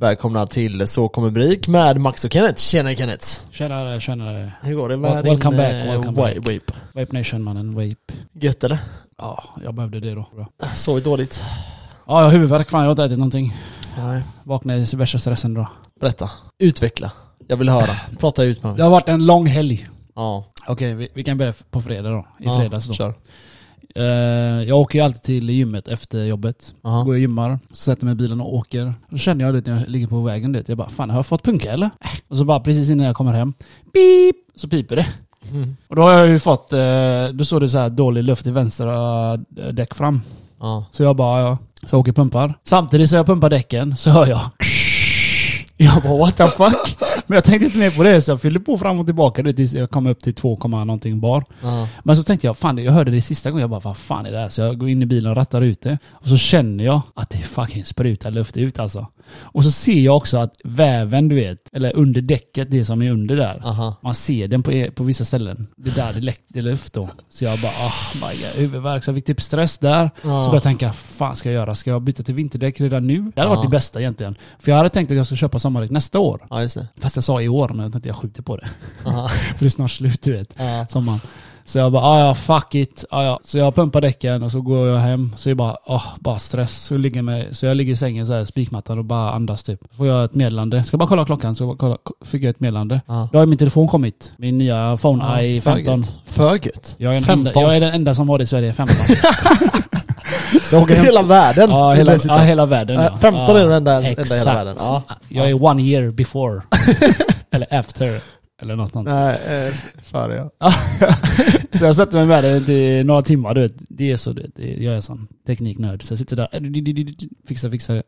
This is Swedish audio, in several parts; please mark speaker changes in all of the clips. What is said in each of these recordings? Speaker 1: Välkomna till Så kommer Brik med Max och Kenneth. Tjena Kenneth!
Speaker 2: Tjenare, tjenare.
Speaker 1: Hur går det
Speaker 2: Wel-
Speaker 1: med
Speaker 2: welcome
Speaker 1: din
Speaker 2: back,
Speaker 1: eh,
Speaker 2: welcome back.
Speaker 1: wa- vape?
Speaker 2: Vape Nation mannen, vape.
Speaker 1: Gött eller?
Speaker 2: Ja, jag behövde det då. Ja,
Speaker 1: Sovit dåligt?
Speaker 2: jag har huvudvärk fan, jag har inte ätit någonting.
Speaker 1: Nej.
Speaker 2: Vaknade i värsta stressen då.
Speaker 1: Berätta. Utveckla. Jag vill höra. Prata ut med
Speaker 2: Det
Speaker 1: mig.
Speaker 2: har varit en lång helg.
Speaker 1: Ja.
Speaker 2: Okej, vi, vi kan börja på fredag då. I
Speaker 1: Ja,
Speaker 2: fredags då.
Speaker 1: Kör.
Speaker 2: Eh, jag åker ju alltid till gymmet efter jobbet.
Speaker 1: Aha.
Speaker 2: Går och gymmar, så sätter jag mig i bilen och åker. Då känner jag det när jag ligger på vägen dit. Jag bara, fan har jag fått punka eller? Äh. Och så bara precis innan jag kommer hem, beep, så piper det.
Speaker 1: Mm.
Speaker 2: Och då har jag ju fått, eh, då står det så här dålig luft i vänstra eh, däck fram.
Speaker 1: Ja.
Speaker 2: Så jag bara, ja. Så jag åker och pumpar. Samtidigt som jag pumpar däcken så hör jag Jag bara what the fuck? Men jag tänkte inte mer på det så jag fyllde på fram och tillbaka det tills jag kom upp till 2, komma någonting bar.
Speaker 1: Ja.
Speaker 2: Men så tänkte jag, fan jag hörde det sista gången, jag bara vad fan är det här? Så jag går in i bilen och rattar ut det. Och så känner jag att det fucking sprutar luft ut alltså. Och så ser jag också att väven du vet, eller under däcket, det som är under där.
Speaker 1: Aha.
Speaker 2: Man ser den på, på vissa ställen. Det är där det läckte luft då. Så jag bara, ah, my God, huvudvärk. Så jag fick typ stress där. Så började jag tänka, fan ska jag göra? Ska jag byta till vinterdäck redan nu? Det
Speaker 1: Ja.
Speaker 2: hade varit det bästa egentligen. För jag hade tänkt att jag skulle köpa sommardäck nästa år.
Speaker 1: Ja just det.
Speaker 2: Fast jag sa i år, men jag tänkte jag skjuter på det.
Speaker 1: Aha.
Speaker 2: För det är snart slut du vet.
Speaker 1: Ja.
Speaker 2: Sommaren. Så jag bara, ah, ja fuck it. Ah, ja. Så jag pumpar däcken och så går jag hem. Så jag bara, ah, bara stress. Så jag, ligger med, så jag ligger i sängen så här, spikmattan och bara andas typ. Så får jag ett meddelande. Ska bara kolla klockan, så jag bara kolla, fick jag ett meddelande.
Speaker 1: Ja.
Speaker 2: Då har min telefon kommit. Min nya phone
Speaker 1: Ja,
Speaker 2: i
Speaker 1: för
Speaker 2: 15.
Speaker 1: gött. För gött.
Speaker 2: Jag är, den
Speaker 1: 15.
Speaker 2: enda, jag är den enda som har det i Sverige, 15. så åker jag hem.
Speaker 1: Hela världen.
Speaker 2: Ja, hela,
Speaker 1: Dessutom.
Speaker 2: ja, hela världen.
Speaker 1: Ja, 15 är den enda- enda i hela
Speaker 2: exakt.
Speaker 1: världen. Ja.
Speaker 2: Jag är one year before. eller after. Eller något sånt.
Speaker 1: Nej, eh, för ja.
Speaker 2: Så jag sätter mig med det i några timmar, du vet. Det är så, du vet. Det är- Jag är sån tekniknörd. Så jag sitter där, äh, fixar, fixar det.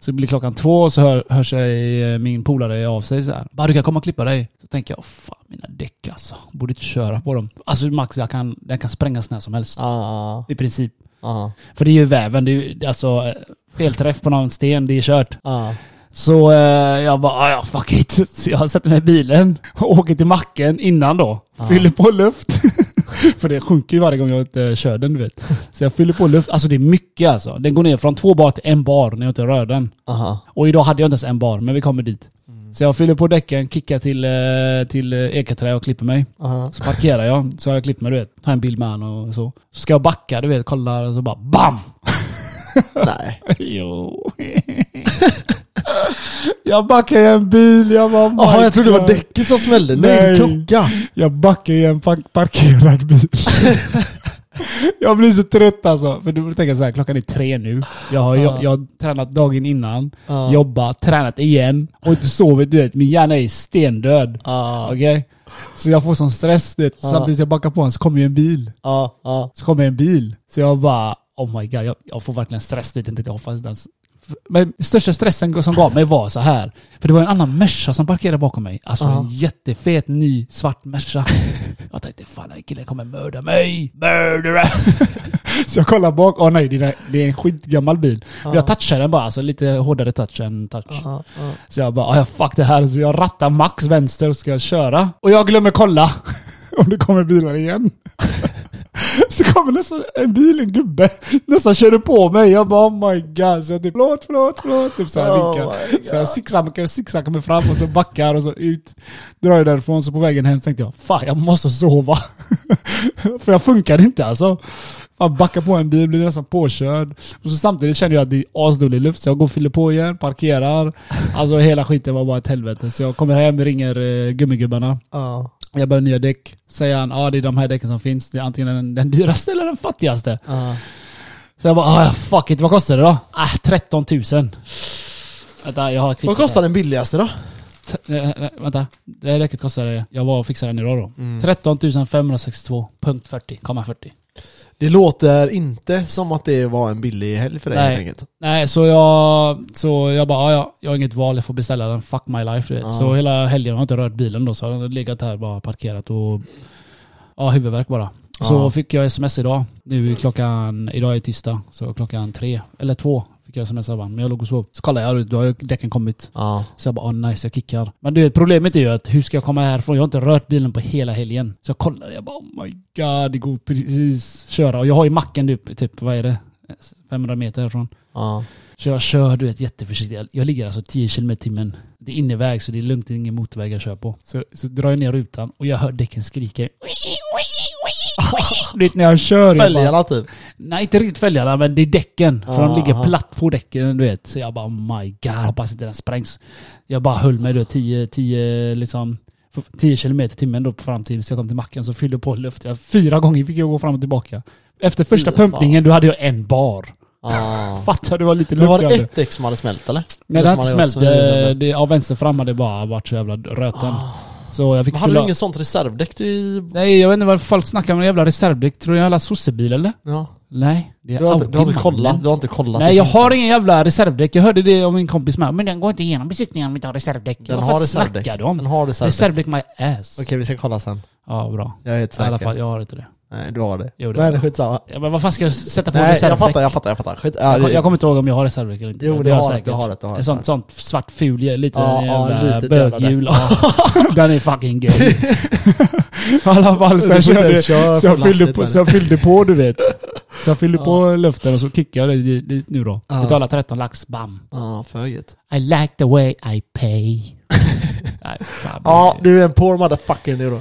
Speaker 2: Så blir klockan två och så hör, hör sig eh, min polare av sig så här. Bara du kan komma och klippa dig. Så tänker jag, fan mina däck alltså. Borde inte köra på dem. Alltså Max, jag kan, jag kan sprängas när som helst.
Speaker 1: Ja.
Speaker 2: I princip.
Speaker 1: Ja.
Speaker 2: För det är ju väven, det är ju, alltså eh, felträff på någon sten, det är kört.
Speaker 1: Ja.
Speaker 2: Så eh, jag bara, "Ah, ja fuck it. Så jag sätter mig i bilen och åker till macken innan då.
Speaker 1: Ja.
Speaker 2: Fyller på luft. För det sjunker ju varje gång jag inte kör den du vet. Så jag fyller på luft, alltså det är mycket alltså. Den går ner från två bar till en bar när jag inte rör den.
Speaker 1: Aha.
Speaker 2: Och idag hade jag inte ens en bar, men vi kommer dit. Så jag fyller på däcken, kickar till, eh, till eh, Eketrä och klipper mig.
Speaker 1: Aha.
Speaker 2: Så parkerar jag, så har jag klippt mig du vet. Tar en bild med honom och så. Så ska jag backa du vet, kollar och så bara BAM!
Speaker 1: Nej.
Speaker 2: Jo. jag backar i en bil, jag bara
Speaker 1: Jaha,
Speaker 2: "My
Speaker 1: jag trodde det var
Speaker 2: God."
Speaker 1: däcket som smällde. Nej,
Speaker 2: Nej.
Speaker 1: klocka.
Speaker 2: Jag backar i en park- parkerad bil. jag blir så trött alltså. För du får tänka så här, klockan är tre nu. Jag har,
Speaker 1: Ja.
Speaker 2: jag, jag har tränat dagen innan,
Speaker 1: Ja.
Speaker 2: jobbat, tränat igen och inte sovit. Du vet, min hjärna är stendöd.
Speaker 1: Ja.
Speaker 2: Okej? Så jag får sån stress du vet.
Speaker 1: Ja.
Speaker 2: Samtidigt som jag backar på honom så kommer ju en bil.
Speaker 1: Ja. Ja.
Speaker 2: Så kommer en bil. Så jag bara, oh my god, jag, jag får verkligen stress. Du vet inte, jag hoppas den... Men största stressen som gav mig var så här. För det var en annan Merca som parkerade bakom mig. Alltså
Speaker 1: Ja.
Speaker 2: en jättefet ny svart Merca. Jag tänkte, fan den här killen kommer mörda mig. Mördare! så jag kollar bak, åh nej, det är, det är en skitgammal bil. Men jag touchar den bara, alltså lite hårdare touch än touch.
Speaker 1: Ja. Ja.
Speaker 2: Så jag bara, "Ah, ja fuck det här. Så jag rattar max vänster och ska köra. Och jag glömmer kolla. Och det kommer bilar igen. Så kommer nästan en bil, en gubbe, nästan körde på mig. Jag bara oh my god. Så jag typ förlåt, förlåt, förlåt. Typ såhär
Speaker 1: Oh
Speaker 2: vinkar.
Speaker 1: my
Speaker 2: Så jag zigzaggar, zigzaggar mig fram och så backar och så ut. Drar jag därifrån. Så på vägen hem tänkte jag, fan jag måste sova. För jag funkar inte alltså. Man backar på en bil, blir nästan påkörd. Och så samtidigt känner jag att det är asdålig luft, så jag går och fyller på igen, parkerar. Alltså hela skiten var bara ett helvete. Så jag kommer hem, ringer eh, gummigubbarna.
Speaker 1: Ja.
Speaker 2: Jag behöver nya däck. Säger han, ja ah, det är de här däcken som finns. Det är antingen den, den dyraste eller den fattigaste.
Speaker 1: Ja.
Speaker 2: Så jag bara, ah, fuck it, vad kostar det då? Ah, 13 000. Vänta, jag har ett kvitto
Speaker 1: Vad kostar den billigaste då?
Speaker 2: här. T- eh, eh, Vänta, det här däcket kostade, jag var och fixade den idag då.
Speaker 1: Mm.
Speaker 2: 13 562.40,40.
Speaker 1: Det låter inte som att det var en billig helg för dig
Speaker 2: Nej.
Speaker 1: helt enkelt.
Speaker 2: Nej, så jag, så jag bara, "Ah, ja, jag har inget val, jag får beställa den. Fuck my life. Du vet.
Speaker 1: Ja.
Speaker 2: Så hela helgen har jag inte rört bilen då, så har den legat här bara parkerat och ja, huvudvärk bara. Så
Speaker 1: Ja.
Speaker 2: fick jag sms idag. Nu är klockan, idag är tisdag, så klockan tre, eller två fick jag sms av honom. Men jag låg och sov. Så kollade jag, då har ju däcken kommit.
Speaker 1: Ja.
Speaker 2: Så jag bara, oh, nice, jag kickar. Men du vet, problemet är ju att hur ska jag komma härifrån? Jag har inte rört bilen på hela helgen. Så jag kollade, jag bara, oh my god, det går precis köra. Och jag har ju macken typ, typ vad är det? 500 meter härifrån.
Speaker 1: Ja.
Speaker 2: Så jag kör du vet jätteförsiktigt. Jag- Jag ligger alltså 10 km timmen. Det är inneväg så det är lugnt, det är ingen motorväg jag kör på. Så, så drar jag ner rutan och jag hör däcken skrika. Du vet när jag kör. jag bara-
Speaker 1: Fälgarna typ.
Speaker 2: Nej, inte riktigt fälgarna, men det är däcken. För de
Speaker 1: Ah,
Speaker 2: ligger
Speaker 1: aha.
Speaker 2: platt på däcken, du vet. Så jag bara, oh my god, hoppas inte den sprängs. Jag bara höll mig då 10, 10, liksom, 10 kilometer i timmen då fram tills jag kom till macken. Så fyllde jag på luft. Jag, fyra gånger fick jag gå fram och tillbaka. Efter första
Speaker 1: Fy fan.
Speaker 2: pumpningen, då hade jag en bar.
Speaker 1: Ja.
Speaker 2: Fattar du vad lite
Speaker 1: Men
Speaker 2: luft
Speaker 1: var
Speaker 2: jag
Speaker 1: det
Speaker 2: hade?
Speaker 1: ett däck som hade smält eller?
Speaker 2: Ah. Nej, det hade inte
Speaker 1: som
Speaker 2: smält. Eh,
Speaker 1: varit så
Speaker 2: Det,
Speaker 1: himla-
Speaker 2: det, av vänster fram hade det bara varit så jävla röten. Så jag fick
Speaker 1: Men hade du
Speaker 2: fylla...
Speaker 1: inget sånt reservdäck i...
Speaker 2: Nej, jag vet inte vad folk snackar om. någon Jävla reservdäck. Tror jag alla sossebil eller?
Speaker 1: Ja.
Speaker 2: Nej, det är
Speaker 1: Du har, inte, du, har
Speaker 2: Audi,
Speaker 1: inte
Speaker 2: mannen.
Speaker 1: kollat, du har inte kollat?
Speaker 2: Nej
Speaker 1: det
Speaker 2: jag
Speaker 1: finns
Speaker 2: har
Speaker 1: en.
Speaker 2: ingen jävla reservdäck. Jag hörde det av min kompis med. Men den går inte igenom besiktningen om vi inte har reservdäck.
Speaker 1: Den
Speaker 2: Vad
Speaker 1: har
Speaker 2: fan
Speaker 1: reservdäck.
Speaker 2: snackar du om?
Speaker 1: Den har reservdäck.
Speaker 2: Reservdäck my ass.
Speaker 1: Okej vi ska kolla sen.
Speaker 2: Ja bra.
Speaker 1: Jag är helt
Speaker 2: I
Speaker 1: säker.
Speaker 2: alla fall, jag har inte det.
Speaker 1: Nej du har det.
Speaker 2: Jo, det har
Speaker 1: Nej
Speaker 2: jag.
Speaker 1: skitsamma.
Speaker 2: Ja, men vad fan ska jag sätta på
Speaker 1: Nej jag
Speaker 2: reservdäck?
Speaker 1: fattar, jag fattar, jag fattar. Skit, ja,
Speaker 2: Jag, kom-
Speaker 1: det-
Speaker 2: jag kommer inte ihåg om jag har reservdäck eller inte.
Speaker 1: Jo
Speaker 2: men
Speaker 1: du
Speaker 2: har
Speaker 1: har
Speaker 2: jag
Speaker 1: det, du har det, du har
Speaker 2: Ett
Speaker 1: det.
Speaker 2: sånt, sånt svart ful, lite
Speaker 1: Ja, ja,
Speaker 2: jävla
Speaker 1: litet jävla
Speaker 2: böghjul. den är fucking gay. I alla fall så
Speaker 1: Du
Speaker 2: jag
Speaker 1: får inte
Speaker 2: körde,
Speaker 1: ens köra
Speaker 2: så
Speaker 1: full
Speaker 2: jag, fyllde
Speaker 1: hastighet
Speaker 2: på,
Speaker 1: med
Speaker 2: så jag fyllde på du vet. Så jag fyllde på luften och så kickade jag dit- dit nu då.
Speaker 1: Ja.
Speaker 2: Betala 13 lax, bam.
Speaker 1: Ja, för högt.
Speaker 2: I like the way I pay. Nej, fan,
Speaker 1: Ja,
Speaker 2: det-
Speaker 1: du är en poor motherfucker nu då.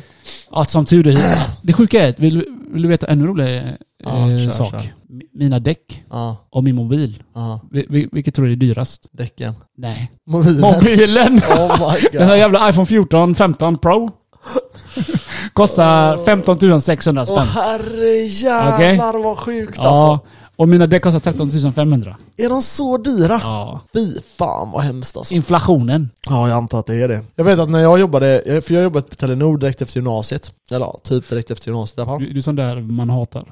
Speaker 2: ja, som tur är. Det sjuka är, vill, vill du veta ännu roligare
Speaker 1: Ja,
Speaker 2: eh,
Speaker 1: kör,
Speaker 2: sak?
Speaker 1: kör.
Speaker 2: M- Mina däck
Speaker 1: Ja,
Speaker 2: och min mobil.
Speaker 1: ja.
Speaker 2: Vi, vi, vilket tror du är dyrast?
Speaker 1: Däcken.
Speaker 2: Nej.
Speaker 1: Mobilen.
Speaker 2: Mobilen!
Speaker 1: Oh my
Speaker 2: Den här
Speaker 1: god.
Speaker 2: jävla iPhone 14, 15 Pro. Kostar 15 600
Speaker 1: Åh
Speaker 2: spänn.
Speaker 1: herrejävlar vad sjukt
Speaker 2: Ja,
Speaker 1: alltså.
Speaker 2: och mina däck kostar 13 500.
Speaker 1: Är de så dyra?
Speaker 2: Ja.
Speaker 1: Fy fan vad hemskt alltså.
Speaker 2: Inflationen.
Speaker 1: Ja, jag antar att det är det. Jag vet att när jag jobbade, för jag jobbade på Telenor direkt efter gymnasiet. Eller ja, typ direkt efter gymnasiet i alla fall.
Speaker 2: Du, du är sån där man hatar.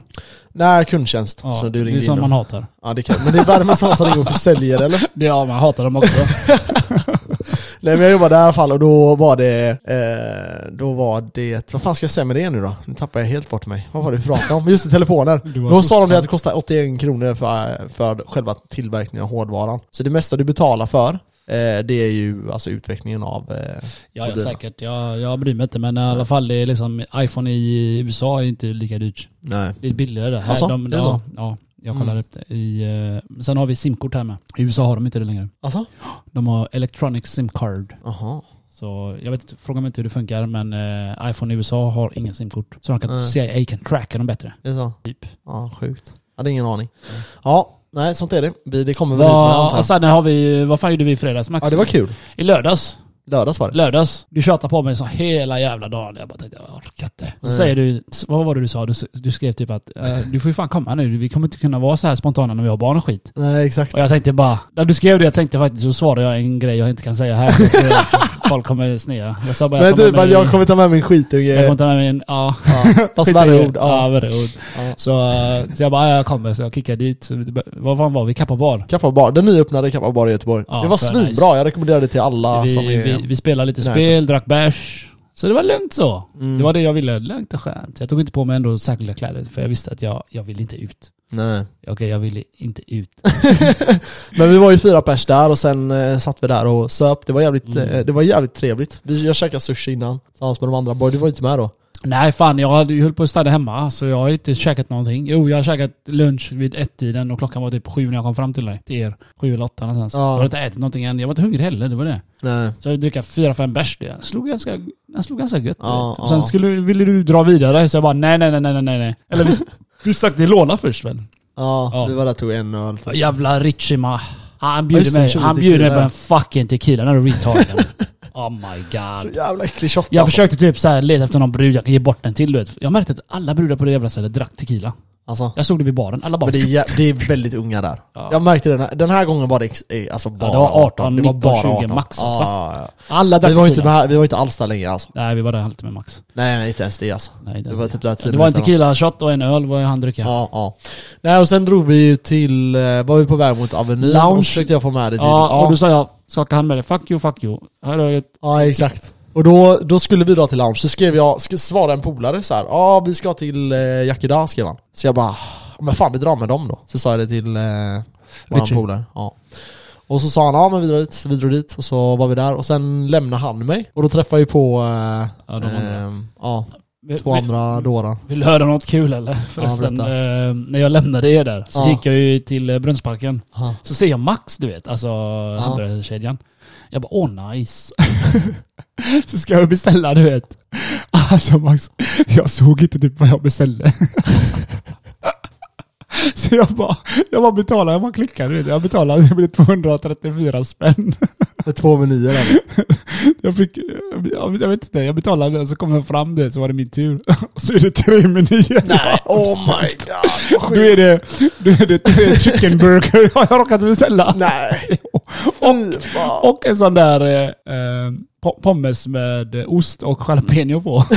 Speaker 1: Nej, kundtjänst.
Speaker 2: Mm. Ja,
Speaker 1: så du
Speaker 2: du är
Speaker 1: ringde
Speaker 2: sån
Speaker 1: in
Speaker 2: man
Speaker 1: och,
Speaker 2: hatar.
Speaker 1: ja, det kan, Men det är värre med sådana som ringer och försäljer eller?
Speaker 2: Ja, man hatar dem också.
Speaker 1: Nej men jag jobbade i alla fall och då var det, eh, då var det, vad fan ska jag säga med det nu då? Nu tappar jag helt bort mig. Vad var det vi pratade om? Just det, telefoner.
Speaker 2: Du var
Speaker 1: Då
Speaker 2: så
Speaker 1: sa de det
Speaker 2: snäll.
Speaker 1: att det kostar 81 kronor för, för själva tillverkningen av hårdvaran. Så det mesta du betalar för, eh, det är ju alltså utvecklingen av... Eh,
Speaker 2: Ja, ja
Speaker 1: mobilen.
Speaker 2: säkert. Jag, jag bryr mig inte. Men i alla fall, det är liksom, iPhone i USA är inte lika dyrt.
Speaker 1: Nej.
Speaker 2: Det är billigare där. Här,
Speaker 1: Alltså,
Speaker 2: de,
Speaker 1: är det
Speaker 2: ja,
Speaker 1: så?
Speaker 2: ja, jag
Speaker 1: Mm.
Speaker 2: kollar upp det. I, eh, sen har vi simkort här med. I USA har de inte det längre.
Speaker 1: Alltså?
Speaker 2: De har electronic simcard.
Speaker 1: Jaha.
Speaker 2: Så jag vet inte, fråga mig inte hur det funkar men eh, iPhone i USA har inga simkort. Så de kan,
Speaker 1: Nej.
Speaker 2: CIA kan tracka dem bättre.
Speaker 1: Är det så?
Speaker 2: Typ.
Speaker 1: Ja, sjukt. Jag hade ingen aning. Ja, nej sånt är det. Vi- Det kommer väl ut med
Speaker 2: Vad, och
Speaker 1: antar jag.
Speaker 2: sen har vi, vad fan gjorde vi i fredags Max?
Speaker 1: Ja det var kul.
Speaker 2: I lördags.
Speaker 1: Lördags var det.
Speaker 2: Lördags. Du tjatar på mig så hela jävla dagen. Jag bara tänkte, jag orkar inte. Så
Speaker 1: Mm.
Speaker 2: säger du, vad var det du sa? Du, du skrev typ att, eh, du får ju fan komma nu. Vi kommer inte kunna vara så här spontana när vi har barn och skit.
Speaker 1: Nej exakt.
Speaker 2: Och jag tänkte bara, när du skrev det jag tänkte faktiskt, så svarade jag en grej jag inte kan säga här. Folk kommer snea. Jag sa bara,
Speaker 1: Men
Speaker 2: jag tar
Speaker 1: typ
Speaker 2: med
Speaker 1: att
Speaker 2: mig-
Speaker 1: jag kommer ta med min
Speaker 2: jag kommer
Speaker 1: skitunge.
Speaker 2: inte med min, ja.
Speaker 1: Ja, fast värre Alltså, ord. Ja.
Speaker 2: Ja, värre ord.
Speaker 1: Ja.
Speaker 2: Så, eh, så jag bara, ja, jag kommer. Så jag kickade dit. Så vi- Vad fan var vi? Kappa bar.
Speaker 1: Kappa bar, den nyöppnade Kappa bar i Göteborg.
Speaker 2: Ja,
Speaker 1: det var
Speaker 2: för
Speaker 1: svinbra,
Speaker 2: nice.
Speaker 1: jag rekommenderar det till alla
Speaker 2: vi,
Speaker 1: som är...
Speaker 2: vi, vi spelade lite
Speaker 1: Nej,
Speaker 2: spel, drack bärs. Så det var lugnt så.
Speaker 1: Mm.
Speaker 2: Det var det jag ville. Lugnt och skönt. Jag tog inte på mig ändå särskilda kläder för jag visste att jag, jag ville inte ut.
Speaker 1: Nej.
Speaker 2: Okej, jag ville inte ut.
Speaker 1: Men vi var ju fyra pers där och sen eh, satt vi där och söp. Det var jävligt,
Speaker 2: Mm.
Speaker 1: eh, det var jävligt trevligt. Vi, jag käkade sushi innan, tillsammans med de andra. Boy, du var ju inte med då?
Speaker 2: Nej fan, jag hade- jag höll på att stanna hemma så jag har inte käkat någonting. Jo, jag har käkat lunch vid ett-tiden och klockan var typ sju när jag kom fram till dig. Till er. Sju eller åtta någonstans.
Speaker 1: Ja.
Speaker 2: Jag hade inte ätit någonting än. Jag var inte hungrig heller, det var det.
Speaker 1: Nej.
Speaker 2: Så jag dricka fyra, fem bärs. Det slog ganska, jag slog ganska gött.
Speaker 1: Ja,
Speaker 2: vet. Och sen
Speaker 1: ja.
Speaker 2: skulle, ville du dra vidare, så jag bara nej, nej, nej, nej, nej, nej. Eller vi, vi stack till låda först väl?
Speaker 1: Ja,
Speaker 2: Ja.
Speaker 1: vi var där och tog en öl. typ.
Speaker 2: Jävla Richima. Han
Speaker 1: Ja,
Speaker 2: bjuder
Speaker 1: just det,
Speaker 2: mig,
Speaker 1: kör
Speaker 2: han
Speaker 1: lite
Speaker 2: bjuder mig på
Speaker 1: tequila.
Speaker 2: en fucking tequila när du retarden. oh my
Speaker 1: Så
Speaker 2: god.
Speaker 1: jävla äcklig shot
Speaker 2: Jag
Speaker 1: alltså.
Speaker 2: försökte typ så här leta efter någon brud jag kan ge bort den till du vet. Jag märkte att alla brudar på det jävla stället drack tequila.
Speaker 1: alltså.
Speaker 2: Jag såg det vid baren. Alla bara...
Speaker 1: Men det är, jä- det är väldigt unga där.
Speaker 2: Ja.
Speaker 1: Jag märkte den här, den här gången var det ex- eh, alltså bara
Speaker 2: det var 18,
Speaker 1: Det var
Speaker 2: 19,
Speaker 1: bara
Speaker 2: 20 max, alltså.
Speaker 1: Ja, ja,
Speaker 2: alla
Speaker 1: ja.
Speaker 2: drack
Speaker 1: Vi var ju inte,
Speaker 2: tequila.
Speaker 1: med, vi var ju inte alls där länge alltså.
Speaker 2: Nej, vi var där en halvtimme max.
Speaker 1: Nej, nej inte ens det alltså.
Speaker 2: Nej, inte
Speaker 1: Det
Speaker 2: ens
Speaker 1: var typ där
Speaker 2: det
Speaker 1: tio
Speaker 2: var en
Speaker 1: minuter
Speaker 2: tequila-shot och en öl var han dricka.
Speaker 1: Ja, ja. Nej och sen drog vi ju till, eh, var vi på väg mot Avenyn
Speaker 2: Lounge.
Speaker 1: och så försökte jag få med det till.
Speaker 2: Ja, och då sa jag, skaka hand med dig. Fuck you, fuck you. Här har jag ett...
Speaker 1: ja exakt. Och då, då skulle vi dra till Lounge, så skrev jag, sk- svarade en polare så här, ja vi ska till eh, Yakida skrev han. Så jag bara, "Ja, men fan vi drar med dem då. Så sa jag det till eh, våran
Speaker 2: Richie.
Speaker 1: polare. Ja. Och så sa han, ja men vi drar dit, så vi drog dit och så var vi där och sen lämnade han mig. Och då träffade jag ju på, eh,
Speaker 2: Ja, de andra.
Speaker 1: ehm, ja,
Speaker 2: Vi-
Speaker 1: Två
Speaker 2: vi-
Speaker 1: andra dårar.
Speaker 2: Vill du höra något kul eller? Förresten, eh, när jag lämnade er där så
Speaker 1: Ja.
Speaker 2: gick jag ju till eh, Brunnsparken.
Speaker 1: Aha.
Speaker 2: Så ser jag Max, du vet, alltså hamburgerkedjan. Jag bara, åh nice. så ska jag beställa, du vet.
Speaker 3: Alltså Max, jag såg inte typ vad jag beställde. Så jag bara, jag bara betalade, jag bara klickade. du vet. Jag betalade, det blev 234 spänn.
Speaker 1: Det är två menyer där.
Speaker 3: Jag fick, jag, jag vet inte, jag betalade och så kom jag fram det så var det min tur. Och så är det tre menyer.
Speaker 1: Nej, oh my god. vad
Speaker 3: Då
Speaker 1: sjukt.
Speaker 3: är det, då är det tre chicken burger har jag råkat beställa.
Speaker 1: Nej. Fy fan.
Speaker 3: Och en sån där eh, eh, po- pommes med ost och jalapeno på.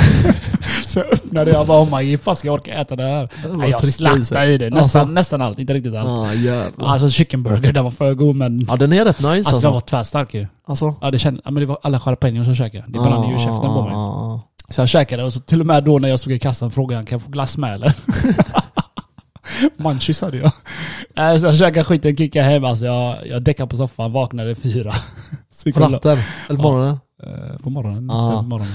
Speaker 3: så öppnade jag bara, oh my fan ska jag orka äta det här?
Speaker 1: Det var
Speaker 2: Nej, jag
Speaker 1: tryckte i
Speaker 2: slaktade
Speaker 1: sig.
Speaker 2: i det. Nästan,
Speaker 1: Alltså.
Speaker 2: nästan allt, inte riktigt allt.
Speaker 1: Ja jävlar.
Speaker 2: Alltså chickenburger, den var för god men...
Speaker 1: Ja den är rätt nice
Speaker 2: Alltså den var
Speaker 1: alltså.
Speaker 2: tvärstark ju.
Speaker 1: Alltså.
Speaker 2: Ja, det, kände, ja, men det var alla jalapeños som käkade. Det
Speaker 1: Ah,
Speaker 2: brann ju i käften på mig.
Speaker 1: mig.
Speaker 2: Så jag käkade och så till och med då när jag stod i kassan frågade han kan jag få glass med eller?
Speaker 3: Munchies hade jag.
Speaker 2: Nej, Så jag käkade skiten, kickade hem. Alltså jag, jag däckade på soffan, vaknade fyra.
Speaker 3: Så gick
Speaker 1: På
Speaker 3: jag och la-
Speaker 1: natten? Eller på morgonen?
Speaker 3: eh, På morgonen.
Speaker 1: Ah.
Speaker 3: inte på morgonen.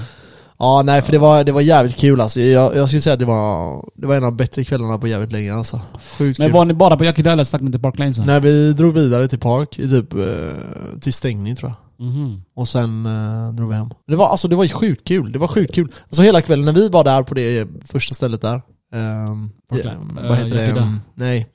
Speaker 1: Ja nej för det var, det var jävligt kul alltså. Jag, jag skulle säga att det var, det var en av de bättre kvällarna på jävligt länge alltså. Sjukt
Speaker 2: Men
Speaker 1: kul.
Speaker 2: var ni bara på Yakidel eller stack ni till Park Lane sen?
Speaker 1: När vi drog vidare till park, i typ, eh, till stängning tror jag.
Speaker 2: Mhm.
Speaker 1: Och sen eh, drog vi hem. Det var, alltså, det var sjukt kul. Det var sjukt kul. Alltså hela kvällen när vi var där på det första stället där. ehm,
Speaker 2: Parkland.
Speaker 1: eh, vad heter
Speaker 2: Eh,
Speaker 1: det?
Speaker 2: Yakida.
Speaker 1: Nej.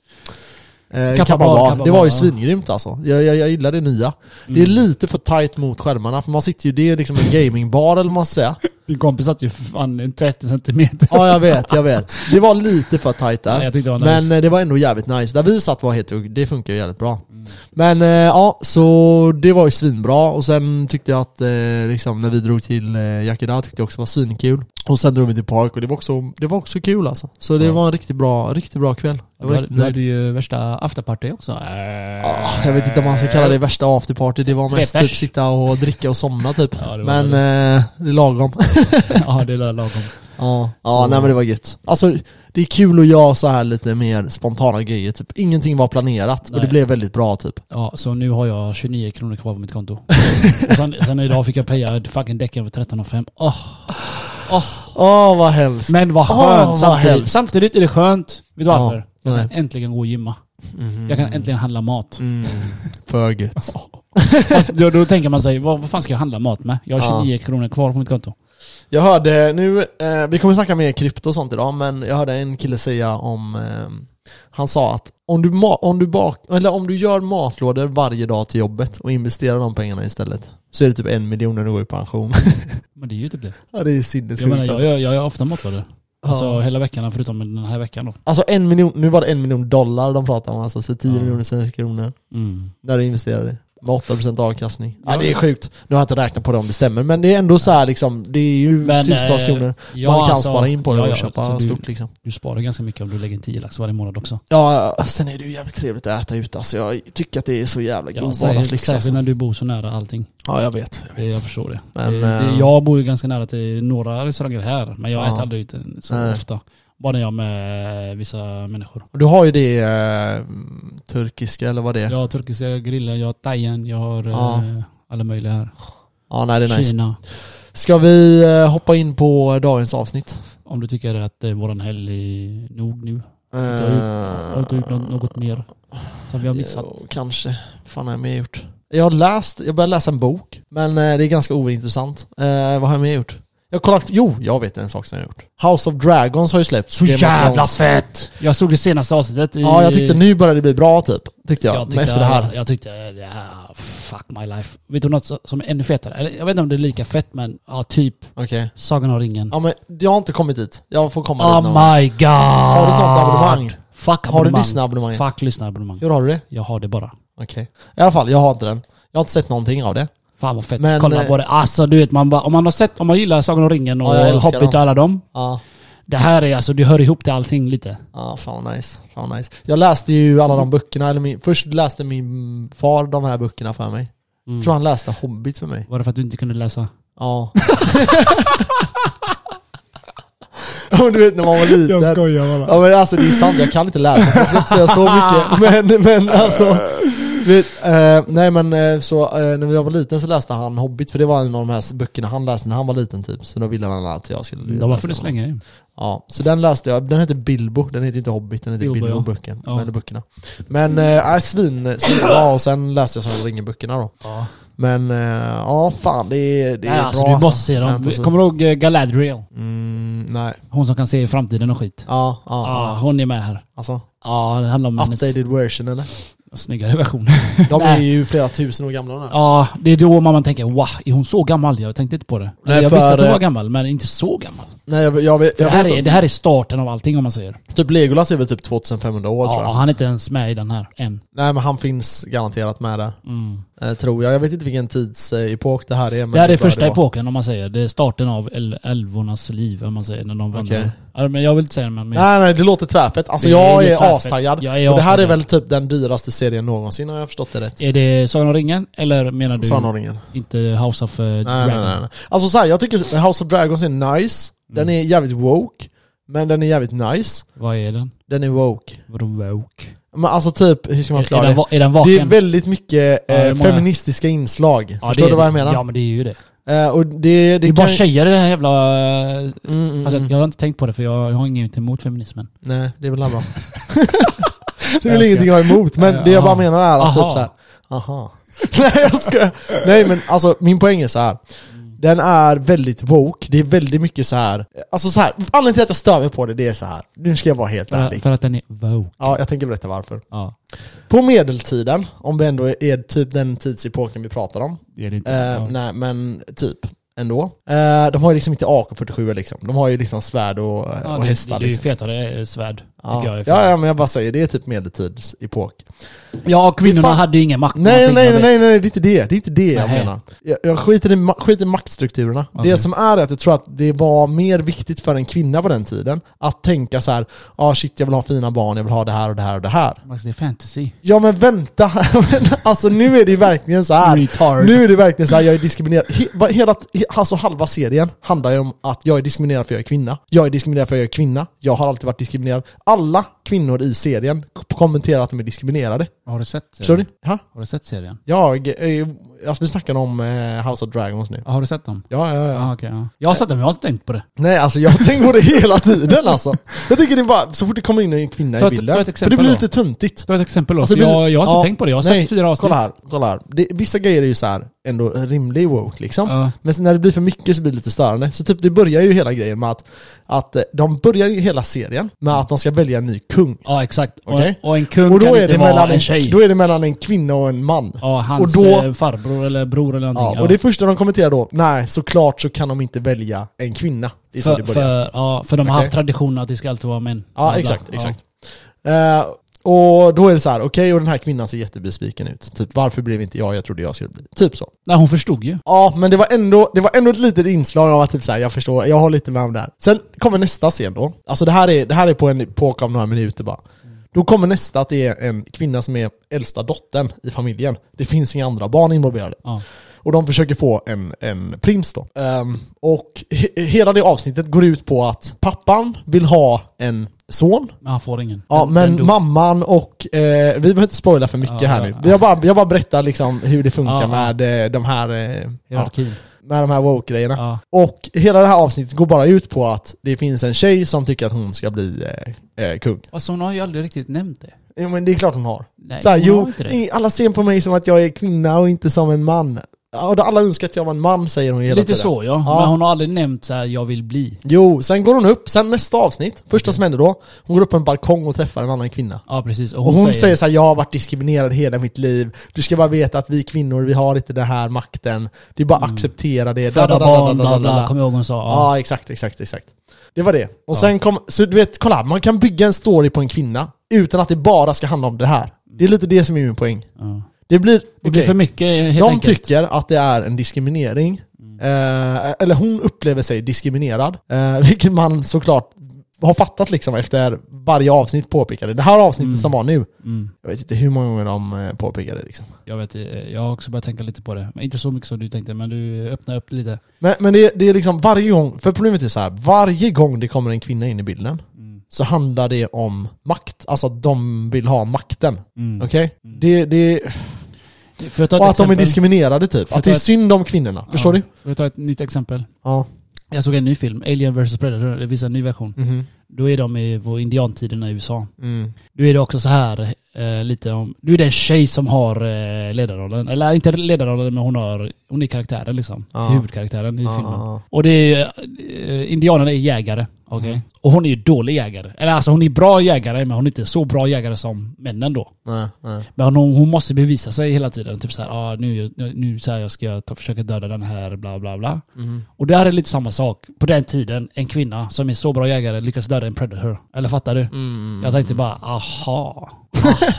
Speaker 1: Eh,
Speaker 2: Kappa
Speaker 1: Kappa
Speaker 2: Bar,
Speaker 1: Bar.
Speaker 2: Kappa
Speaker 1: Det var
Speaker 2: Bar,
Speaker 1: ju
Speaker 2: ja.
Speaker 1: svingrymt alltså. Jag, jag, jag gillar det nya. Det är lite för tight mot skärmarna, för man sitter ju, det är liksom en gamingbar eller vad man ska säga.
Speaker 3: Din kompis satt ju för fan en 30 centimeter.
Speaker 1: Ja jag vet, jag vet. Det var lite för tight där.
Speaker 2: Nej, jag tyckte det var nice.
Speaker 1: Men eh, det var ändå jävligt nice. Där vi satt var helt, det funkar ju jävligt bra.
Speaker 2: Mm.
Speaker 1: Men eh, ja, så det var ju svinbra. Och sen tyckte jag att eh, liksom, när vi drog till eh, Yakida tyckte jag också var svinkul. Och sen drog vi till Park och det var också, det var också kul alltså. Så det
Speaker 2: Ja.
Speaker 1: var en riktigt bra, riktigt bra kväll. Jag, var
Speaker 2: Men,
Speaker 1: riktigt
Speaker 2: nu är
Speaker 1: nöjd.
Speaker 2: du ju värsta afterparty också. Eh.
Speaker 1: Ah, jag vet inte om man ska kalla det värsta afterparty. Det var
Speaker 2: Tre
Speaker 1: mest
Speaker 2: pers.
Speaker 1: typ sitta och dricka och somna typ.
Speaker 2: Ja, det var
Speaker 1: Men eh, det är lagom.
Speaker 2: ja, det är lagom.
Speaker 1: Ja, ja nej men det var gött. Alltså det är kul att göra så här lite mer spontana grejer, typ ingenting var planerat och
Speaker 2: Nej.
Speaker 1: det blev väldigt bra typ.
Speaker 2: Ja, så nu har jag 29 kronor kvar på mitt konto. Och sen, sen idag fick jag peja fucking däcken för 13,5. Åh,
Speaker 1: Åh vad hemskt.
Speaker 2: Men vad
Speaker 1: Åh,
Speaker 2: skönt!
Speaker 1: vad
Speaker 2: samtidigt,
Speaker 1: hemskt.
Speaker 2: samtidigt är det skönt. Vet du
Speaker 1: Ja,
Speaker 2: varför? jag kan
Speaker 1: nej.
Speaker 2: äntligen gå och gymma.
Speaker 1: Mhm.
Speaker 2: Jag kan äntligen handla mat.
Speaker 1: Mm. För gött.
Speaker 2: Fast då, då tänker man sig, vad, vad fan ska jag handla mat med? Jag har
Speaker 1: Mm. Ja.
Speaker 2: 29 kronor kvar på mitt konto.
Speaker 1: Jag hörde nu, eh, vi kommer snacka mer krypto och sånt idag, men jag hörde en kille säga om, eh, han sa att om du, ma- om, du bak- eller om du gör matlådor varje dag till jobbet och investerar de pengarna istället, så är det typ en miljon när du går i pension.
Speaker 2: Men det är ju typ det.
Speaker 1: ja det är
Speaker 2: Jag
Speaker 1: sinnessjukt
Speaker 2: menar, jag,
Speaker 1: alltså.
Speaker 2: jag, jag är ofta matlådor. Alltså
Speaker 1: Ja.
Speaker 2: hela veckan, förutom den här veckan då.
Speaker 1: alltså en miljon, nu var det en miljon dollar de pratade om alltså, så 10
Speaker 2: Ja.
Speaker 1: miljoner svenska kronor. när du investerar i. Med 8% avkastning. Ja. det är sjukt. Nu har jag inte räknat på det om det stämmer, men det är ändå så här liksom, det är ju
Speaker 2: Men,
Speaker 1: tusentals
Speaker 2: eh,
Speaker 1: kronor.
Speaker 2: Ja,
Speaker 1: Man kan
Speaker 2: alltså,
Speaker 1: spara in på det
Speaker 2: ja,
Speaker 1: och
Speaker 2: ja, så
Speaker 1: köpa
Speaker 2: du,
Speaker 1: stort liksom.
Speaker 2: Du sparar ganska mycket om du lägger en 10 lax varje månad också.
Speaker 1: Ja, sen är det ju jävligt trevligt att äta ute alltså. Jag tycker att det är så jävla
Speaker 2: Ja,
Speaker 1: god
Speaker 2: särskilt,
Speaker 1: vardagslyx
Speaker 2: särskilt
Speaker 1: alltså.
Speaker 2: när du bor så nära allting.
Speaker 1: Ja, jag vet.
Speaker 2: Det, jag förstår det.
Speaker 1: Men,
Speaker 2: det, det.
Speaker 1: eh,
Speaker 2: Jag bor ju ganska nära till några restauranger här, men jag
Speaker 1: Ja.
Speaker 2: äter aldrig ute så
Speaker 1: Nej.
Speaker 2: ofta. Bara när jag är med eh, vissa människor.
Speaker 1: Du har ju det eh, turkiska eller vad det är.
Speaker 2: Jag
Speaker 1: Ja,
Speaker 2: har turkiska grillen, jag har thaien, jag har
Speaker 1: Ja.
Speaker 2: eh, alla möjliga här.
Speaker 1: nej det är nice.
Speaker 2: Kina.
Speaker 1: Ska vi eh, hoppa in på dagens avsnitt?
Speaker 2: Om du tycker att eh, våran helg är nog nu.
Speaker 1: Eh,
Speaker 2: Jag har inte gjort något, något mer som vi har missat.
Speaker 1: Jo, kanske. fan har jag mer gjort? Jag har läst, jag började läsa en bok, men eh, det är ganska ointressant. Eh, vad har jag mer gjort? Jag har kollat, jo, jag vet en sak som jag har gjort. House of Dragons har ju släppts. Game of Thrones.
Speaker 2: fett! Jag såg det senaste avsnittet i...
Speaker 1: Ja, jag tyckte nu börjar det bli bra typ. Tyckte jag, men efter det här.
Speaker 2: Jag tyckte, ja, fuck my life. Vet du något så- som är ännu fetare? Eller, jag vet inte om det är lika fett men, ja typ
Speaker 1: Okej.
Speaker 2: Sagan om ringen.
Speaker 1: Ja men, jag har inte kommit dit. Jag får komma dit någon gång.
Speaker 2: oh my god!
Speaker 1: Har du sånt abonnemang?
Speaker 2: Fuck
Speaker 1: Har du
Speaker 2: abonnemang.
Speaker 1: lyssnarabonnemanget?
Speaker 2: Fuck lyssnarabonnemang.
Speaker 1: Hur har du det?
Speaker 2: Jag har det bara.
Speaker 1: Okej. I alla fall, jag har inte den. Jag har inte sett någonting av det.
Speaker 2: Fan vad fett.
Speaker 1: Men,
Speaker 2: Kolla
Speaker 1: eh,
Speaker 2: på det. Alltså du vet, man bara, om man har sett, om man gillar Sagan om ringen och
Speaker 1: Ja, jag älskar
Speaker 2: Hobbit och
Speaker 1: dem.
Speaker 2: alla dem.
Speaker 1: Ja.
Speaker 2: Det här är alltså, du hör ihop till allting lite.
Speaker 1: Ja, fan vad nice. Fan vad nice. Jag läste ju alla de böckerna, eller min, först läste min far de här böckerna för mig.
Speaker 2: Mm.
Speaker 1: Jag tror han läste Hobbit för mig.
Speaker 2: Var det för att du inte kunde läsa?
Speaker 1: Ja. Ja, men du vet när man var liten.
Speaker 3: Jag skojar bara.
Speaker 1: Ja men alltså det är sant, jag kan inte läsa så jag ska inte säga så mycket. Men, men alltså, Vet, eh, nej men eh, så eh, när jag var liten så läste han Hobbit, för det var en av de här böckerna han läste när han var liten typ. Så då ville han att jag skulle läsa
Speaker 2: Mm, De har funnits
Speaker 1: dem.
Speaker 2: länge ju.
Speaker 1: Ja, så den läste jag. Den heter Bilbo, den heter inte Hobbit, den heter
Speaker 2: Bilbo, ja.
Speaker 1: Bilbo-böcken.
Speaker 2: Ja.
Speaker 1: Eller böckerna. Men eh, äh, svin, svin, ja och sen läste jag Sagan om ringen-böckerna då.
Speaker 2: Ja.
Speaker 1: Men eh, ja, fan det är, det är
Speaker 2: Nej, alltså,
Speaker 1: bra
Speaker 2: du måste se dem.
Speaker 1: Fantasy.
Speaker 2: Kommer du ihåg eh, Galadriel?
Speaker 1: Mm, nej.
Speaker 2: Hon som kan se i framtiden och skit.
Speaker 1: Ja, ja,
Speaker 2: Ja,
Speaker 1: ja.
Speaker 2: hon är med här.
Speaker 1: Alltså,
Speaker 2: Ja, det handlar om hennes
Speaker 1: updated version eller?
Speaker 2: snyggare version.
Speaker 1: De är
Speaker 2: Nej.
Speaker 1: ju flera tusen år gamla de här.
Speaker 2: Ja, det är då man tänker wow, är hon så gammal? Jag tänkte inte på det.
Speaker 1: Nej,
Speaker 2: jag
Speaker 1: för-
Speaker 2: visste att hon var gammal, men inte så gammal.
Speaker 1: Nej jag, jag, vet- jag,
Speaker 2: Det här,
Speaker 1: vet
Speaker 2: är,
Speaker 1: inte.
Speaker 2: det här är starten av allting om man säger.
Speaker 1: Typ Legolas är väl typ 2500 år tror
Speaker 2: Ja,
Speaker 1: jag.
Speaker 2: han är inte ens med i den här än.
Speaker 1: Nej men han finns garanterat med där. Eh, tror jag. Jag vet inte vilken tidsepok det här är. Men
Speaker 2: det här är
Speaker 1: bör
Speaker 2: första
Speaker 1: vara.
Speaker 2: epoken om man säger. Det är starten av el- älvornas liv om man säger. När de vandrar.
Speaker 1: Okej.
Speaker 2: Ja, men jag vill inte säga det men... men-
Speaker 1: Nej nej, det låter tvärfett. Alltså
Speaker 2: Det är
Speaker 1: jag
Speaker 2: lite
Speaker 1: är
Speaker 2: tvärfett.
Speaker 1: astaggad.
Speaker 2: Jag är
Speaker 1: Och det här är
Speaker 2: astaggad.
Speaker 1: väl typ den dyraste serien någonsin har jag förstått det rätt.
Speaker 2: Är det Sagan om ringen? Eller menar du
Speaker 1: Sannordningen.
Speaker 2: inte House of eh,
Speaker 1: Nej,
Speaker 2: Dragon?
Speaker 1: nej, nej, nej. Alltså så här, jag tycker House of Dragons är nice. Den
Speaker 2: Mm.
Speaker 1: är jävligt woke. Men den är jävligt nice.
Speaker 2: Vad är den?
Speaker 1: Den är woke.
Speaker 2: Vadå woke?
Speaker 1: Men alltså typ, hur ska man
Speaker 2: Är, är,
Speaker 1: förklara
Speaker 2: den,
Speaker 1: det?
Speaker 2: va- är den vaken?
Speaker 1: Det är väldigt mycket
Speaker 2: Ja, det är
Speaker 1: eh,
Speaker 2: många-
Speaker 1: feministiska inslag.
Speaker 2: Ja,
Speaker 1: Förstår
Speaker 2: det är
Speaker 1: du vad jag
Speaker 2: den.
Speaker 1: menar?
Speaker 2: Ja men det är ju det.
Speaker 1: Eh, och det, det,
Speaker 2: Det är
Speaker 1: kan...
Speaker 2: bara tjejer i det här jävla... eh,
Speaker 1: Mm, mm,
Speaker 2: Fast jag,
Speaker 1: mm.
Speaker 2: jag har inte tänkt på det för jag, jag har inget emot feminismen.
Speaker 1: Nej, det är väl bra. det är väl
Speaker 2: Jag ska-
Speaker 1: ingenting jag har emot, men det jag bara
Speaker 2: Aha.
Speaker 1: menar är att typ
Speaker 2: Aha.
Speaker 1: såhär, aha. Nej jag ska. Nej men alltså min poäng är så här. Den är väldigt woke, det är väldigt mycket så här. alltså så här. anledningen till att jag stör mig på det, det är så här. nu ska jag vara helt
Speaker 2: För,
Speaker 1: ärlig.
Speaker 2: för att den är woke.
Speaker 1: Ja, jag tänker berätta varför.
Speaker 2: Ja.
Speaker 1: På medeltiden, om vi ändå är typ den tidsepoken vi pratar om,
Speaker 2: Det är det inte.
Speaker 1: Eh, Nej men typ ändå. Eh, de har ju liksom inte AK47 liksom. De har ju liksom svärd och,
Speaker 2: Ja,
Speaker 1: och
Speaker 2: det,
Speaker 1: hästar
Speaker 2: det, det är ju
Speaker 1: liksom.
Speaker 2: fetare eh, svärd,
Speaker 1: Ja.
Speaker 2: tycker jag. är
Speaker 1: ja,
Speaker 2: fetare.
Speaker 1: ja men jag bara säger, det är typ medeltidsepok.
Speaker 2: ja, och kvinnorna
Speaker 1: Fan.
Speaker 2: hade ju ingen makt.
Speaker 1: Nej
Speaker 2: någonting,
Speaker 1: nej
Speaker 2: jag
Speaker 1: nej,
Speaker 2: vet.
Speaker 1: nej nej, det är inte det. Det är inte det jag
Speaker 2: Nähä.
Speaker 1: menar. Jag, jag skiter, i, ma- skiter i maktstrukturerna.
Speaker 2: Okej.
Speaker 1: Det som är är att jag tror att det var mer viktigt för en kvinna på den tiden att tänka så här, ja ah, shit jag vill ha fina barn, jag vill ha det här och det här och det här.
Speaker 2: Max, det är fantasy.
Speaker 1: Ja men vänta, Men alltså nu är det ju verkligen så här.
Speaker 2: Retard.
Speaker 1: Ah, Nu är det verkligen så här, jag är diskriminerad. He, va- hela, he, alltså halva serien handlar ju om att jag är diskriminerad för jag är kvinna. Jag är diskriminerad för jag är kvinna. Jag har alltid varit diskriminerad. Alla kvinnor i serien k- kommenterar att de är diskriminerade.
Speaker 2: Har du sett
Speaker 1: Förstår du?
Speaker 2: serien?
Speaker 1: Ha?
Speaker 2: Har du sett serien?
Speaker 1: Jag, eh, alltså vi snackar om eh, House of Dragons nu.
Speaker 2: Ja, Har du sett dem?
Speaker 1: Ja, ja, ja.
Speaker 2: Ja, okej. ja. Jag har sett dem, jag har inte tänkt på det.
Speaker 1: Nej alltså jag har tänkt på det hela tiden alltså. Jag tycker det är bara, så fort det kommer in en kvinna
Speaker 2: Ta
Speaker 1: i
Speaker 2: ett-
Speaker 1: bilden.
Speaker 2: ta ett
Speaker 1: för det
Speaker 2: exempel
Speaker 1: blir
Speaker 2: då.
Speaker 1: lite töntigt.
Speaker 2: Ta ett exempel då.
Speaker 1: Alltså,
Speaker 2: för
Speaker 1: vill-
Speaker 2: jag, jag har inte
Speaker 1: ja,
Speaker 2: tänkt på det. Jag har
Speaker 1: nej,
Speaker 2: sett fyra avsnitt.
Speaker 1: Kolla här, kolla här. Det, vissa grejer är ju så här ändå rimlig woke liksom.
Speaker 2: Ja.
Speaker 1: Men sen när det blir för mycket så blir det lite störande. Så typ det börjar ju hela grejen med att, att eh, de börjar ju hela serien med att de ska välja en ny kung.
Speaker 2: Ja, exakt.
Speaker 1: Okej.
Speaker 2: Och, och en kung
Speaker 1: Och då
Speaker 2: kan
Speaker 1: är,
Speaker 2: inte
Speaker 1: det
Speaker 2: vara
Speaker 1: mellan
Speaker 2: en tjej.
Speaker 1: då är det mellan en kvinna och en man.
Speaker 2: ja, hans
Speaker 1: och då-
Speaker 2: eh, farbror eller bror eller någonting.
Speaker 1: Ja, och det första de kommenterar då, nej såklart så kan de inte välja en kvinna. Det är så det
Speaker 2: för,
Speaker 1: börjar.
Speaker 2: för, ja, för de har
Speaker 1: Okej.
Speaker 2: haft traditionen att det ska alltid vara män.
Speaker 1: Ja,
Speaker 2: Bla,
Speaker 1: exakt,
Speaker 2: bla.
Speaker 1: exakt. Eh, och då är det så här, okej och den här kvinnan ser jättebesviken ut. Typ varför blev inte jag, jag trodde jag skulle bli. Typ så.
Speaker 2: Nej, hon förstod ju.
Speaker 1: Ja, men det var ändå, det var ändå ett litet inslag av att typ så här, jag förstår, jag har lite med om det här. Sen kommer nästa scen då. Alltså det här är, det här är på en epok av några minuter bara. Då kommer nästa att det är en kvinna som är äldsta dottern i familjen. Det finns inga andra barn involverade.
Speaker 2: Ja.
Speaker 1: Och de försöker få en, en prins då. Ehm, och he, hela det avsnittet går ut på att pappan vill ha en son.
Speaker 2: Men han får ingen.
Speaker 1: Ja,
Speaker 2: Den-
Speaker 1: men
Speaker 2: den dog.
Speaker 1: mamman och... Eh, vi behöver inte spoila för mycket
Speaker 2: Ja,
Speaker 1: här
Speaker 2: ja,
Speaker 1: nu.
Speaker 2: ja.
Speaker 1: Jag bara, jag bara berättar liksom hur det funkar
Speaker 2: Ja, ja.
Speaker 1: med eh, de här... Eh, ja,
Speaker 2: Hierarkin.
Speaker 1: med de här woke-grejerna.
Speaker 2: Ja.
Speaker 1: Och hela det här avsnittet går bara ut på att det finns en tjej som tycker att hon ska bli eh, eh, kung.
Speaker 2: Alltså hon har ju aldrig riktigt nämnt det.
Speaker 1: Jo men det är klart hon har.
Speaker 2: Nej,
Speaker 1: Så här,
Speaker 2: hon har
Speaker 1: jo,
Speaker 2: inte det.
Speaker 1: i- alla ser på mig som att jag är kvinna och inte som en man. Ja, Och då alla önskar att jag var en man säger hon hela
Speaker 2: Lite
Speaker 1: tiden.
Speaker 2: så ja.
Speaker 1: Ja.
Speaker 2: Men hon har aldrig nämnt så här, jag vill bli.
Speaker 1: Jo, sen går hon upp, sen nästa avsnitt, första som händer då, hon går upp på en balkong och träffar en annan kvinna.
Speaker 2: Ja precis. Och
Speaker 1: Och
Speaker 2: hon,
Speaker 1: hon säger, så här, jag har varit diskriminerad hela mitt liv. Du ska bara veta att vi kvinnor, vi har inte den här makten. Det är bara acceptera det.
Speaker 2: föda
Speaker 1: Da, da, da, da,
Speaker 2: barn,
Speaker 1: da, da,
Speaker 2: bla
Speaker 1: da,
Speaker 2: bla.
Speaker 1: da.
Speaker 2: Kommer jag ihåg hon sa. Ja.
Speaker 1: Ja, exakt, exakt, exakt. Det var det. Och sen kom, så du vet, kolla, här, man kan bygga en story på en kvinna utan att det bara ska handla om det här. Det är lite det som är min poäng.
Speaker 2: Ja.
Speaker 1: Det blir,
Speaker 2: Det blir
Speaker 1: okej.
Speaker 2: för mycket helt
Speaker 1: De
Speaker 2: enkelt. Mm.
Speaker 1: tycker att det är en diskriminering, eh, eller hon upplever sig diskriminerad, eh, vilket man såklart har fattat liksom efter varje avsnitt påpekade. Det här avsnittet som var nu,
Speaker 2: Mm.
Speaker 1: jag vet inte hur många gånger de eh, påpekade liksom.
Speaker 2: Jag vet, eh, jag har också börjat tänka lite på det. Men inte så mycket som du tänkte, men du öppnar upp lite.
Speaker 1: Men, men det, det är liksom varje gång, för problemet är så här, varje gång det kommer en kvinna in i bilden
Speaker 2: Mm.
Speaker 1: så handlar det om makt. Alltså att de vill ha makten.
Speaker 2: Mm.
Speaker 1: Okej? Det, det,
Speaker 2: Får jag ta ett
Speaker 1: och att de är
Speaker 2: exempel?
Speaker 1: diskriminerade typ.
Speaker 2: För
Speaker 1: Att det är
Speaker 2: att-
Speaker 1: synd om kvinnorna. Förstår
Speaker 2: ja.
Speaker 1: du?
Speaker 2: Får jag ta ett nytt exempel?
Speaker 1: Ja.
Speaker 2: Jag såg en ny film, Alien vs Predator, det finns en ny version.
Speaker 1: Mhm.
Speaker 2: Då är de i, på indiantiderna i USA.
Speaker 1: Mm.
Speaker 2: Då är det också så här eh, lite om... Du är det en tjej som har eh, ledarrollen. Eller inte ledarrollen, men hon, har, hon är karaktären liksom.
Speaker 1: Ja.
Speaker 2: Huvudkaraktären i
Speaker 1: Ja,
Speaker 2: filmen.
Speaker 1: ja,
Speaker 2: Och det är... Eh, indianerna är jägare. Okej?
Speaker 1: Mm.
Speaker 2: Och hon är ju dålig jägare. Eller alltså hon är bra jägare, men hon är inte så bra jägare som männen då.
Speaker 1: ja. Nej, nej.
Speaker 2: Men hon, hon måste bevisa sig hela tiden. Typ så här, ah, nu, nu- nu så här, jag ska jag ta, försöka döda den här, bla bla bla.
Speaker 1: Mhm.
Speaker 2: Och det här är lite samma sak. På den tiden, en kvinna som är så bra jägare lyckas döda en predator. Eller fattar du?
Speaker 1: Mm.
Speaker 2: Jag tänkte bara, aha.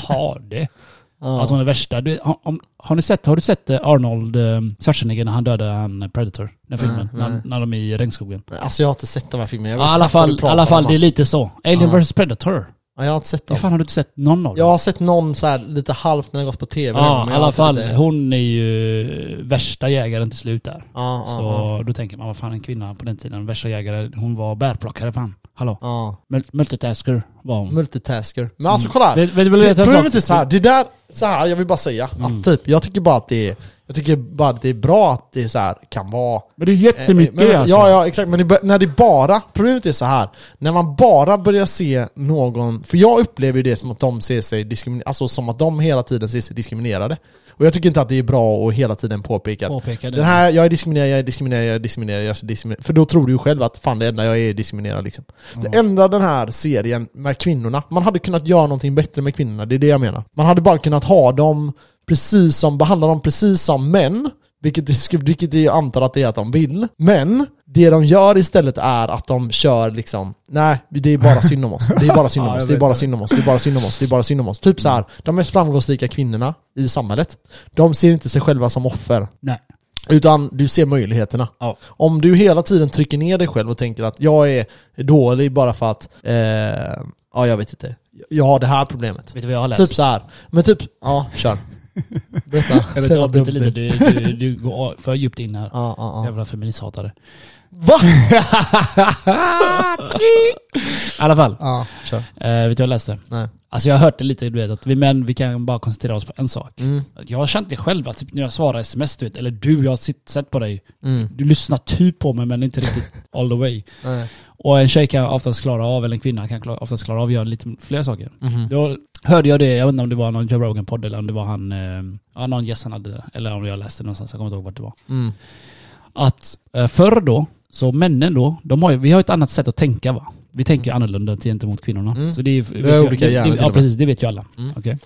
Speaker 2: Aha det.
Speaker 1: Ja.
Speaker 2: Att hon är värsta. Du, har, om, har, ni sett, har du sett eh, Arnold eh, Schwarzenegger när han dödade en predator? Den filmen.
Speaker 1: Nej, nej.
Speaker 2: När, när de är i regnskogen.
Speaker 1: Nej, Alltså jag har inte sett de här filmerna. Jag
Speaker 2: I
Speaker 1: vet
Speaker 2: alla
Speaker 1: knappt vad du
Speaker 2: fall,
Speaker 1: pratar
Speaker 2: alla fall
Speaker 1: om,
Speaker 2: det är
Speaker 1: alltså.
Speaker 2: lite så. Alien
Speaker 1: Ja.
Speaker 2: vs Predator.
Speaker 1: Ja, jag har inte sett
Speaker 2: Hur
Speaker 1: dem.
Speaker 2: fan har du inte sett någon av dem?
Speaker 1: Jag har sett någon så här lite halvt när den gått på tv.
Speaker 2: Ja,
Speaker 1: men jag har
Speaker 2: i alla
Speaker 1: inte
Speaker 2: fall.
Speaker 1: lite-
Speaker 2: Hon är ju eh, värsta jägaren till slut där.
Speaker 1: Ja, ja, ja.
Speaker 2: Så då tänker man, vad fan en kvinna på den tiden, värsta jägare, hon var bärplockare fan. Hallå?
Speaker 1: ja.
Speaker 2: Mul- Multitasker var hon.
Speaker 1: Multitasker. Men alltså kolla här.
Speaker 2: Vet, vet du vad
Speaker 1: Det,
Speaker 2: jag vet en
Speaker 1: problemet
Speaker 2: sak?
Speaker 1: är så här, det där, så här, jag vill bara säga
Speaker 2: Mm.
Speaker 1: att typ, jag tycker bara att det är, jag tycker bara att det är bra att det är så här, kan vara
Speaker 3: Men det är
Speaker 1: Eh,
Speaker 3: jättemycket
Speaker 1: men,
Speaker 3: alltså.
Speaker 1: Ja, ja, exakt. Men det, bör- när det bara, problemet är så här. när man bara börjar se någon, för jag upplever ju det som att de ser sig diskriminerade, alltså som att de hela tiden ser sig diskriminerade. Och jag tycker inte att det är bra att hela tiden påpeka att
Speaker 2: Påpeka det.
Speaker 1: den här, jag är diskriminerad, jag är diskriminerad, jag är diskriminerad, jag är diskriminerad. För då tror du ju själv att fan det enda jag är är diskriminerad liksom. Det enda den här serien med kvinnorna, man hade kunnat göra någonting bättre med kvinnorna, det är det jag menar. Man hade bara kunnat ha dem precis som, behandla dem precis som män, vilket, det skulle- vilket jag antar att det är att de vill. Men det de gör istället är att de kör liksom, nej det är bara synd om oss, det är bara synd om
Speaker 3: Ja, jag
Speaker 1: oss, det är
Speaker 3: vet
Speaker 1: bara
Speaker 3: det.
Speaker 1: synd om oss, det är bara synd om oss, det är bara synd om oss. Typ så här, de mest framgångsrika kvinnorna i samhället, de ser inte sig själva som offer.
Speaker 2: Nej.
Speaker 1: Utan du ser möjligheterna.
Speaker 2: Ja.
Speaker 1: Om du hela tiden trycker ner dig själv och tänker att jag är dålig bara för att, eh, ja jag vet inte, jag har det här problemet.
Speaker 2: Vet du vad jag har läst?
Speaker 1: Typ så här. men typ, ja kör. Berätta.
Speaker 2: jag vet,
Speaker 1: Säg
Speaker 2: jag
Speaker 1: vad
Speaker 2: avbryter
Speaker 1: dumt
Speaker 2: lite,
Speaker 1: det är.
Speaker 2: du, du, du går för djupt in här.
Speaker 1: Ja, ja, ja.
Speaker 2: Jävla feministhatare.
Speaker 1: Va?
Speaker 2: I alla fall,
Speaker 1: Ja, kör.
Speaker 2: eh, vet du vad jag läste?
Speaker 1: Nej.
Speaker 2: Alltså jag har hört det lite, du vet att vi män, vi kan bara koncentrera oss på en sak.
Speaker 1: Mm.
Speaker 2: Jag har känt det själv, att typ när jag svarar sms, du vet, eller du, jag har sitt- sett på dig.
Speaker 1: Mm.
Speaker 2: Du lyssnar typ på mig men inte riktigt all the way.
Speaker 1: Nej.
Speaker 2: Och en tjej kan oftast klara av, eller en kvinna kan klara- oftast klara av att göra lite fler saker.
Speaker 1: Mhm.
Speaker 2: Då hörde jag det, jag vet inte om det var någon Joe Rogan-podd eller om det var han, eh, ja någon gäst han hade, det, eller om jag läste det någonstans, jag kommer inte ihåg vart det var.
Speaker 1: Mm.
Speaker 2: Att eh, förr då, så männen då, de har, ju- vi har ett annat sätt att tänka va? Vi tänker ju annorlunda gentemot kvinnorna.
Speaker 1: Mm.
Speaker 2: Så det är, ju- vet
Speaker 1: har
Speaker 2: ju-
Speaker 1: olika
Speaker 2: det-
Speaker 1: hjärnor
Speaker 2: det-
Speaker 1: till och
Speaker 2: Ja
Speaker 1: med.
Speaker 2: precis, det vet ju alla.
Speaker 1: Mm.
Speaker 2: Okej.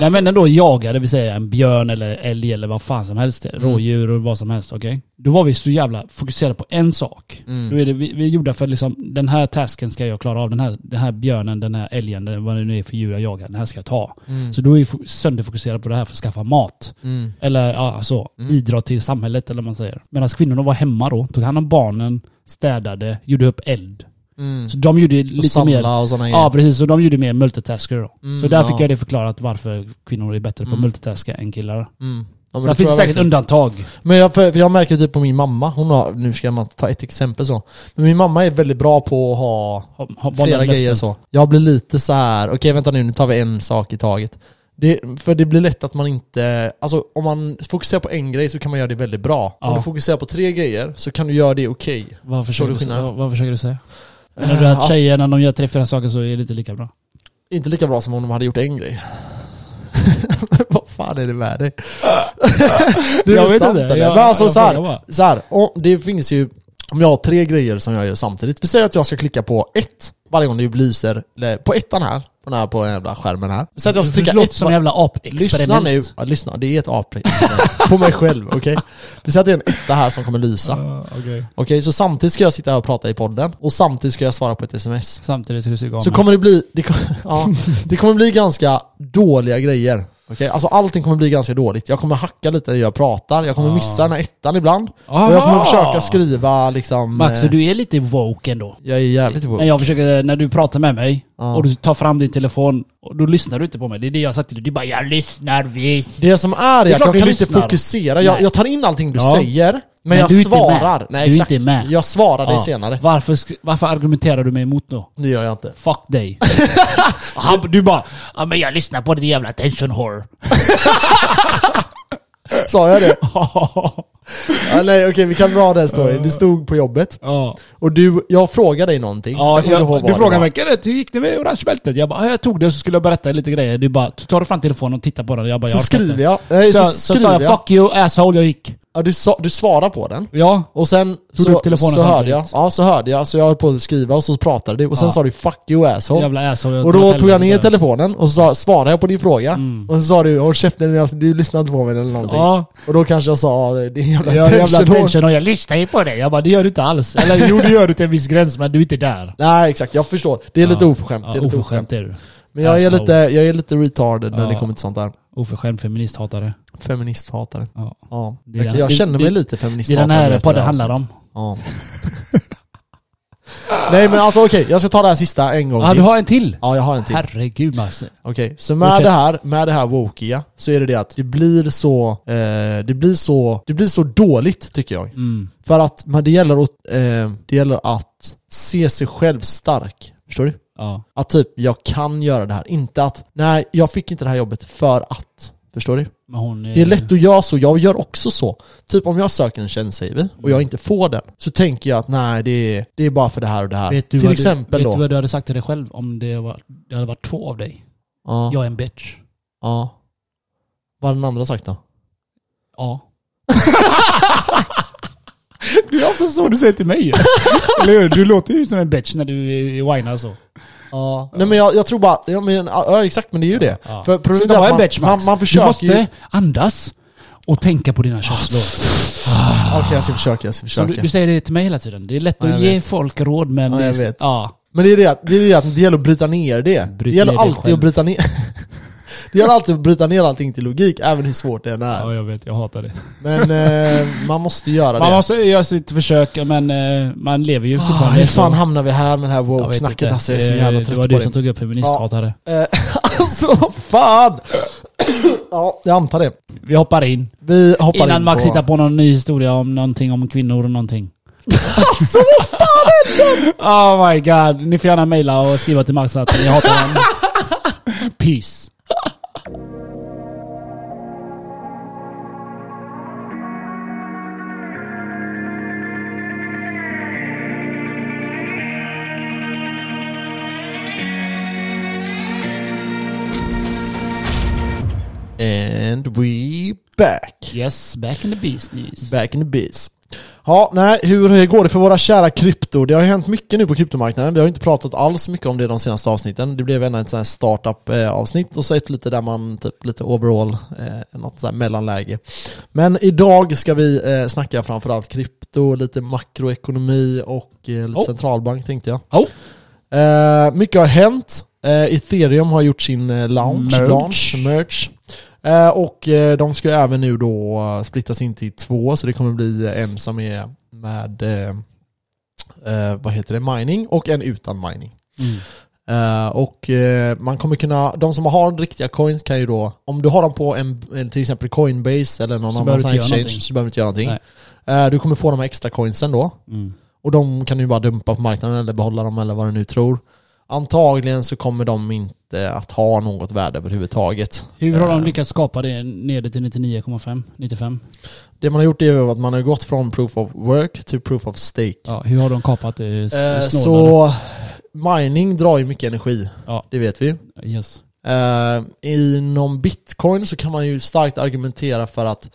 Speaker 2: När männen då jagade, vi säger en björn eller älg eller vad fan som helst,
Speaker 1: Mm.
Speaker 2: rådjur och vad som helst, okej? Då var vi så jävla fokuserade på en sak.
Speaker 1: Mm.
Speaker 2: Då är det, vi, vi är gjorda för liksom, den här tasken ska jag klara av. Den här, den här björnen, den här älgen, den, vad det nu är för djur jag jagar. Den här ska jag ta.
Speaker 1: Mm.
Speaker 2: Så då är vi fo- sönderfokuserade på det här för att skaffa mat.
Speaker 1: Mm.
Speaker 2: Eller ja, så,
Speaker 1: Mm.
Speaker 2: bidra till samhället eller vad man säger. Medan kvinnorna var hemma då, tog hand om barnen, städade, gjorde upp eld.
Speaker 1: Mm.
Speaker 2: Så de gjorde lite
Speaker 1: Och
Speaker 2: mer...
Speaker 1: samla och sådana
Speaker 2: Ja
Speaker 1: grejer.
Speaker 2: precis, så de gjorde mer multitasker då.
Speaker 1: Mm,
Speaker 2: så där
Speaker 1: ja.
Speaker 2: fick jag det förklarat varför kvinnor är bättre på
Speaker 1: Mm.
Speaker 2: att multitaska än killar.
Speaker 1: Mm. Ja, men
Speaker 2: Så
Speaker 1: det
Speaker 2: det finns
Speaker 1: tror jag
Speaker 2: säkert
Speaker 1: verkligen.
Speaker 2: undantag.
Speaker 1: Men jag, för för jag märker typ på min mamma, hon har, nu ska man ta ett exempel så. Men min mamma är väldigt bra på att ha
Speaker 2: Ha, ha,
Speaker 1: flera grejer så. Jag blir lite så här. okej vänta nu, nu tar vi en sak i taget. Det, för det blir lätt att man inte, alltså om man fokuserar på en grej så kan man göra det väldigt bra. Om
Speaker 2: Ja.
Speaker 1: du fokuserar på tre grejer så kan du göra det okej.
Speaker 2: Vad
Speaker 1: Förstår
Speaker 2: försöker,
Speaker 1: du
Speaker 2: du, säga?
Speaker 1: skillnaden?
Speaker 2: vad, vad försöker du säga? Menar du
Speaker 1: Ja.
Speaker 2: att tjejer när de gör tre, fyra saker så är det inte lika bra?
Speaker 1: Inte lika bra som om de hade gjort en grej. Vad fan är det med dig? det är
Speaker 2: Jag
Speaker 1: väl
Speaker 2: vet
Speaker 1: sant,
Speaker 2: inte.
Speaker 1: eller?
Speaker 2: Jag-
Speaker 1: Men alltså
Speaker 2: jag
Speaker 1: så
Speaker 2: frågar
Speaker 1: här,
Speaker 2: bara.
Speaker 1: så här om, det finns ju, om jag har tre grejer som jag gör samtidigt. Vi säger att jag ska klicka på ett varje gång det lyser, eller på ettan här, på den här, på den här jävla skärmen här. Så att jag ska
Speaker 2: Det
Speaker 1: trycka
Speaker 2: låter
Speaker 1: ett
Speaker 2: som
Speaker 1: var-
Speaker 2: en jävla
Speaker 1: Lyssna nu,
Speaker 2: apexperiment.
Speaker 1: ja, lyssna, det är ett apexperiment. på mig själv, okej? Vi säger att det är en etta här som kommer lysa. Okej,
Speaker 3: Ja, okej.
Speaker 1: så samtidigt ska jag sitta här och prata i podden, och samtidigt ska jag svara på ett sms.
Speaker 2: Samtidigt ska du suga av
Speaker 1: Så
Speaker 2: mig.
Speaker 1: kommer det bli, det, kom- ja, det kommer bli ganska dåliga grejer. Okej? Alltså allting kommer bli ganska dåligt. Jag kommer hacka lite när jag pratar, jag kommer
Speaker 2: Ja.
Speaker 1: missa den här ettan ibland. Och jag kommer
Speaker 2: Aha!
Speaker 1: försöka skriva liksom...
Speaker 2: Max, så
Speaker 1: eh,
Speaker 2: du är lite woke ändå.
Speaker 1: Jag är jävligt woke.
Speaker 2: När jag försöker, när du pratar med mig
Speaker 1: Ja.
Speaker 2: och du tar fram din telefon, och då lyssnar du inte på mig. Det är det jag har sagt till dig. Du bara 'Jag lyssnar visst'
Speaker 1: Det som är är att
Speaker 2: klart
Speaker 1: jag
Speaker 2: du
Speaker 1: kan
Speaker 2: lyssnar.
Speaker 1: inte fokusera. Jag,
Speaker 2: Nej.
Speaker 1: jag tar in allting du
Speaker 2: Ja.
Speaker 1: säger, men Men, jag
Speaker 2: du är inte
Speaker 1: svarar.
Speaker 2: med.
Speaker 1: Nej,
Speaker 2: Du är
Speaker 1: exakt.
Speaker 2: inte med.
Speaker 1: Jag svarar dig
Speaker 2: Ja.
Speaker 1: senare.
Speaker 2: Varför, sk- varför argumenterar du mig emot då?
Speaker 1: Det gör jag inte.
Speaker 2: Fuck dig. Han, du bara ja, men jag lyssnar på din jävla attention whore.
Speaker 1: Sa jag det? ja, nej okej, vi kan dra den storyn. Vi stod på jobbet
Speaker 3: Ja.
Speaker 1: och du, jag frågade dig någonting.
Speaker 2: Ja,
Speaker 1: jag kommer inte ihåg
Speaker 2: jag,
Speaker 1: vad
Speaker 2: du
Speaker 1: det
Speaker 2: frågade
Speaker 1: var.
Speaker 2: mig "Kenneth, hur gick det med orange bältet? Jag bara, "Ja, jag tog det och så skulle jag berätta lite grejer. Du bara, tar du fram telefonen och tittar på den? Jag bara,
Speaker 1: Så
Speaker 2: jag orkar inte."
Speaker 1: skriver jag. Nej, så,
Speaker 2: Så, så
Speaker 1: skriver
Speaker 2: sa
Speaker 1: jag.
Speaker 2: jag 'fuck you asshole' jag gick.
Speaker 1: Ja, du, sa, du svarar på den.
Speaker 3: Ja.
Speaker 1: Och sen
Speaker 2: du
Speaker 1: så,
Speaker 2: upp telefonen
Speaker 1: så hörde jag.
Speaker 2: samtidigt?
Speaker 1: Ja, så hörde jag. Så jag höll på att skriva och så pratade du. Och sen
Speaker 2: Ja.
Speaker 1: sa du 'fuck you asshole'
Speaker 2: Jävla asshole. jag
Speaker 1: Och då
Speaker 2: drar
Speaker 1: tog jag
Speaker 2: helvete.
Speaker 1: ner telefonen och så sa, svarade jag på din fråga.
Speaker 2: Mm.
Speaker 1: Och så sa du 'håll käften, jag- du lyssnar inte på mig' eller någonting.
Speaker 3: Ja.
Speaker 1: Och då kanske jag sa "Ja, din jävla
Speaker 2: Jag har
Speaker 1: attention
Speaker 2: jävla
Speaker 1: whore."
Speaker 2: attention och jag lyssnar ju på dig. Jag bara, det gör du inte alls. Eller jo, det gör du till en viss gräns, men du är inte där.
Speaker 1: Nej exakt, jag förstår. Det är lite
Speaker 2: Ja.
Speaker 1: oförskämt. det är
Speaker 2: Ja,
Speaker 1: lite
Speaker 2: oförskämt är du.
Speaker 1: Men jag är,
Speaker 2: Asshole.
Speaker 1: lite, jag är lite retarded när
Speaker 2: Ja.
Speaker 1: det kommer till sånt där.
Speaker 2: Oförskämd feministhatare.
Speaker 1: Feministhatare.
Speaker 3: Ja.
Speaker 1: Ja.
Speaker 2: Det är
Speaker 1: Jag,
Speaker 2: den-
Speaker 1: jag känner mig
Speaker 2: det-
Speaker 1: lite
Speaker 2: Det är
Speaker 1: feministhatare.
Speaker 2: den här
Speaker 1: efter
Speaker 2: podden
Speaker 1: här
Speaker 2: handlar om.
Speaker 1: Ja. Nej men alltså okej, jag ska ta det här sista en gång
Speaker 2: Ja, du
Speaker 1: till.
Speaker 2: har en till?
Speaker 1: Ja, jag har en till.
Speaker 2: Herregud Masse.
Speaker 1: Okej, så med
Speaker 2: Fortsätt.
Speaker 1: det här, med det här wokiga, så är det det att det blir så, eh, det blir så, det blir så dåligt tycker jag.
Speaker 2: Mm.
Speaker 1: För att, men det gäller att, eh, det gäller att se sig själv stark. Förstår du?
Speaker 2: Ja.
Speaker 1: Att typ, jag kan göra det här. Inte att, nej, jag fick inte det här jobbet för att. Förstår du?
Speaker 2: Men hon
Speaker 1: Det är lätt att göra så, jag gör också så. Typ om jag söker en tjänst säger vi, och jag inte får den, så tänker jag att nej, det är, det är bara för det här och det här.
Speaker 2: Vet du
Speaker 1: Till
Speaker 2: vad
Speaker 1: exempel
Speaker 2: du,
Speaker 1: då.
Speaker 2: Vet du vad du hade sagt till dig själv om det, var, det hade varit två av dig?
Speaker 1: ja,
Speaker 2: Jag är en bitch.
Speaker 1: ja. Vad har den andra sagt då?
Speaker 2: Ja.
Speaker 3: Det är ofta så du säger till mig. Eller hur? Du låter ju som en bitch när du eh, whinar så.
Speaker 1: Ja. Nej men jag, jag tror bara, ja, men, ja exakt men det är ju det.
Speaker 2: Ja.
Speaker 1: För problemet
Speaker 2: Sluta
Speaker 1: är
Speaker 2: vara
Speaker 1: att
Speaker 2: en
Speaker 1: man,
Speaker 2: bitch Max.
Speaker 1: man, man försöker
Speaker 2: Du måste
Speaker 1: ju...
Speaker 2: andas och tänka på dina känslor.
Speaker 1: Okej jag ska försöka, jag ska
Speaker 2: Som Du,
Speaker 1: försöka.
Speaker 2: du säger det till mig hela tiden. Det är lätt
Speaker 1: Ja, jag
Speaker 2: att ge
Speaker 1: vet.
Speaker 2: folk råd men...
Speaker 1: Ja,
Speaker 2: det är,
Speaker 1: jag vet.
Speaker 2: Ja.
Speaker 1: Men det är det, att- det, är det, att det gäller att bryta ner det.
Speaker 2: Bryt
Speaker 1: det gäller
Speaker 2: ner dig
Speaker 1: alltid
Speaker 2: själv.
Speaker 1: att bryta ner... det gäller alltid att bryta ner allting till logik, även hur svårt det än är.
Speaker 3: jag vet. Jag hatar det.
Speaker 1: Men eh, man måste göra
Speaker 2: Man
Speaker 1: det.
Speaker 2: måste göra sitt försök men eh, man lever ju
Speaker 1: Ah,
Speaker 2: fortfarande.
Speaker 1: hur
Speaker 2: så-
Speaker 1: fan hamnar vi här med det här
Speaker 2: Jag vet
Speaker 1: woke-snacket
Speaker 2: inte.
Speaker 1: alltså? Jag är så
Speaker 2: Eh,
Speaker 1: jävla
Speaker 2: Det
Speaker 1: trött på
Speaker 2: var du som
Speaker 1: det.
Speaker 2: tog upp feministhatare.
Speaker 1: Eh, alltså vad fan! ja, jag antar det.
Speaker 2: Vi hoppar in.
Speaker 1: Vi hoppar
Speaker 2: Innan
Speaker 1: in
Speaker 2: Max
Speaker 1: på...
Speaker 2: hittar på någon ny historia om någonting om kvinnor och någonting. oh my god. Ni får gärna mejla och skriva till Max att ni hatar honom. Peace.
Speaker 1: And we back.
Speaker 2: Yes, back in the business.
Speaker 1: Back in the biz. Ja, nej, hur går det för våra kära krypto? Det har ju hänt mycket nu på kryptomarknaden. Vi har ju inte pratat alls mycket om det de senaste avsnitten. Det blev ändå ett sånt här startup-avsnitt och så ett lite där man, typ lite overall, eh, något sånt här mellanläge. Men idag ska vi eh, snacka framförallt krypto, lite makroekonomi och eh, lite
Speaker 2: Oh.
Speaker 1: centralbank tänkte jag.
Speaker 2: Oh.
Speaker 1: Eh, mycket har hänt. Eh, Ethereum har gjort sin eh, launch,
Speaker 2: Merge.
Speaker 1: launch, merge. Eh, och eh, de ska ju även nu då eh, splittas in till två, så det kommer bli eh, en som är med, eh, eh, vad heter det, mining och en utan mining.
Speaker 2: Mm.
Speaker 1: Eh, och eh, man kommer kunna, de som har riktiga coins kan ju då, om du har dem på en, en till exempel Coinbase eller någon
Speaker 2: Så
Speaker 1: annan
Speaker 2: behöver
Speaker 1: sån
Speaker 2: du
Speaker 1: här
Speaker 2: inte
Speaker 1: exchange
Speaker 2: göra någonting.
Speaker 1: så behöver du inte göra någonting. Eh, du kommer få de här extra coinsen då.
Speaker 2: Mm.
Speaker 1: Och de kan du bara dumpa på marknaden eller behålla dem eller vad du nu tror. Antagligen så kommer de inte att ha något värde överhuvudtaget.
Speaker 2: Hur har
Speaker 1: Eh.
Speaker 2: de lyckats skapa det nere till 99,5? 95?
Speaker 1: Det man har gjort är ju att man har gått från proof of work till proof of stake.
Speaker 2: Ja, hur har de kapat det? s-
Speaker 1: Eh,
Speaker 2: snålare?
Speaker 1: så mining drar ju mycket energi,
Speaker 2: Ja.
Speaker 1: det vet vi.
Speaker 2: Yes.
Speaker 1: Eh, inom bitcoin så kan man ju starkt argumentera för att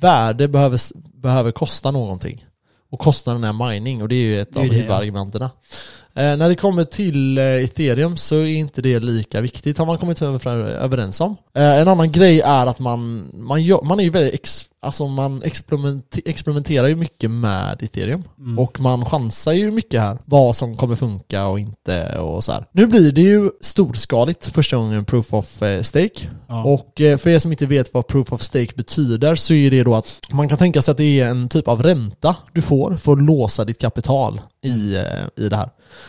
Speaker 1: värde behöver, behöver kosta någonting. Och kostnaden är mining och det är ju ett
Speaker 2: Det är
Speaker 1: av
Speaker 2: ju det, ja.
Speaker 1: huvudargumenten. Eh, när det kommer till eh, ethereum så är inte det lika viktigt har man kommit över- överens om. Eh, en annan grej är att man, man, gör, man är ju väldigt ex, alltså man experimenter, experimenterar ju mycket med ethereum.
Speaker 2: Mm.
Speaker 1: Och man chansar ju mycket här. Vad som kommer funka och inte och så här. Nu blir det ju storskaligt första gången proof of eh, stake.
Speaker 2: Ja.
Speaker 1: Och eh, för er som inte vet vad proof of stake betyder så är det då att man kan tänka sig att det är en typ av ränta du får för att låsa ditt kapital i, eh, i det här.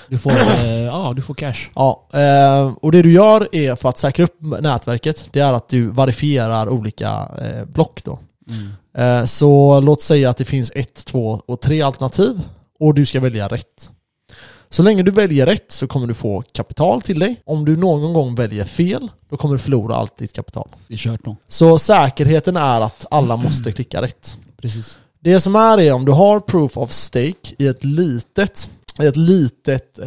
Speaker 2: Du får, eh, ja, du får cash.
Speaker 1: Ja, eh, och det du gör är för att säkra upp nätverket, det är att du verifierar olika eh, block då.
Speaker 2: Mm.
Speaker 1: Eh, Så låt säga att det finns ett, två och tre alternativ och du ska välja rätt. Så länge du väljer rätt så kommer du få kapital till dig. Om du någon gång väljer fel, då kommer du förlora allt ditt kapital.
Speaker 2: Det är kört nog.
Speaker 1: Så säkerheten är att alla måste klicka rätt.
Speaker 2: Precis.
Speaker 1: Det som är är om du har proof of stake i ett litet, i ett litet eh,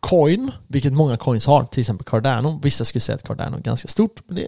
Speaker 1: coin, vilket många coins har, till exempel Cardano. Vissa skulle säga att Cardano är ganska stort, men det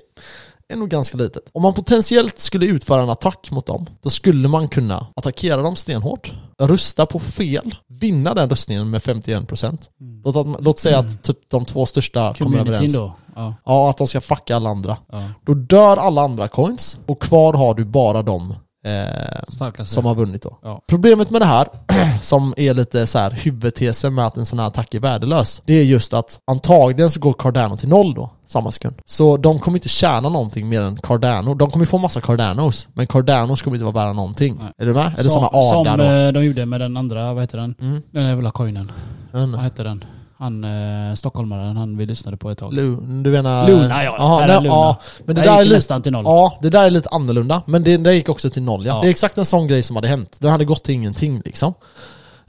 Speaker 1: är nog ganska litet. Om man potentiellt skulle utföra en attack mot dem, då skulle man kunna attackera dem stenhårt, rösta på fel, vinna den röstningen med 51%. Låt, att, låt säga att typ de två största kommer
Speaker 2: Mm. Communityn
Speaker 1: överens.
Speaker 2: då? Ja.
Speaker 1: Ja, att de ska fucka alla andra.
Speaker 2: ja.
Speaker 1: Då dör alla andra coins och kvar har du bara de eh,
Speaker 2: Starkaste.
Speaker 1: som har vunnit då.
Speaker 2: Ja.
Speaker 1: Problemet med det här, som är lite så här huvudtesen med att en sån här attack är värdelös, det är just att antagligen så går Cardano till noll då, samma sekund. Så de kommer inte tjäna någonting mer än Cardano. De kommer få massa Cardanos, men Cardanos kommer inte vara värda någonting.
Speaker 2: Nej.
Speaker 1: Är du med? Är det
Speaker 2: som,
Speaker 1: såna adlar
Speaker 2: Som
Speaker 1: då?
Speaker 2: eh, de gjorde med den andra, vad heter den?
Speaker 1: Mm.
Speaker 2: Den jävla coinen.
Speaker 1: En-
Speaker 2: Vad heter den? Han eh, stockholmaren, han vi lyssnade på ett tag.
Speaker 1: Lu- Du menar...
Speaker 2: Luna ja,
Speaker 1: Jaha,
Speaker 2: Terra
Speaker 1: nej,
Speaker 2: Luna.
Speaker 1: ja. Men det
Speaker 2: Den
Speaker 1: där är
Speaker 2: gick
Speaker 1: lite
Speaker 2: nästan till noll.
Speaker 1: Ja, det där är lite annorlunda. Men det, det gick också till noll ja.
Speaker 2: Ja.
Speaker 1: Det är exakt en sån grej som hade hänt. Den hade gått till ingenting liksom.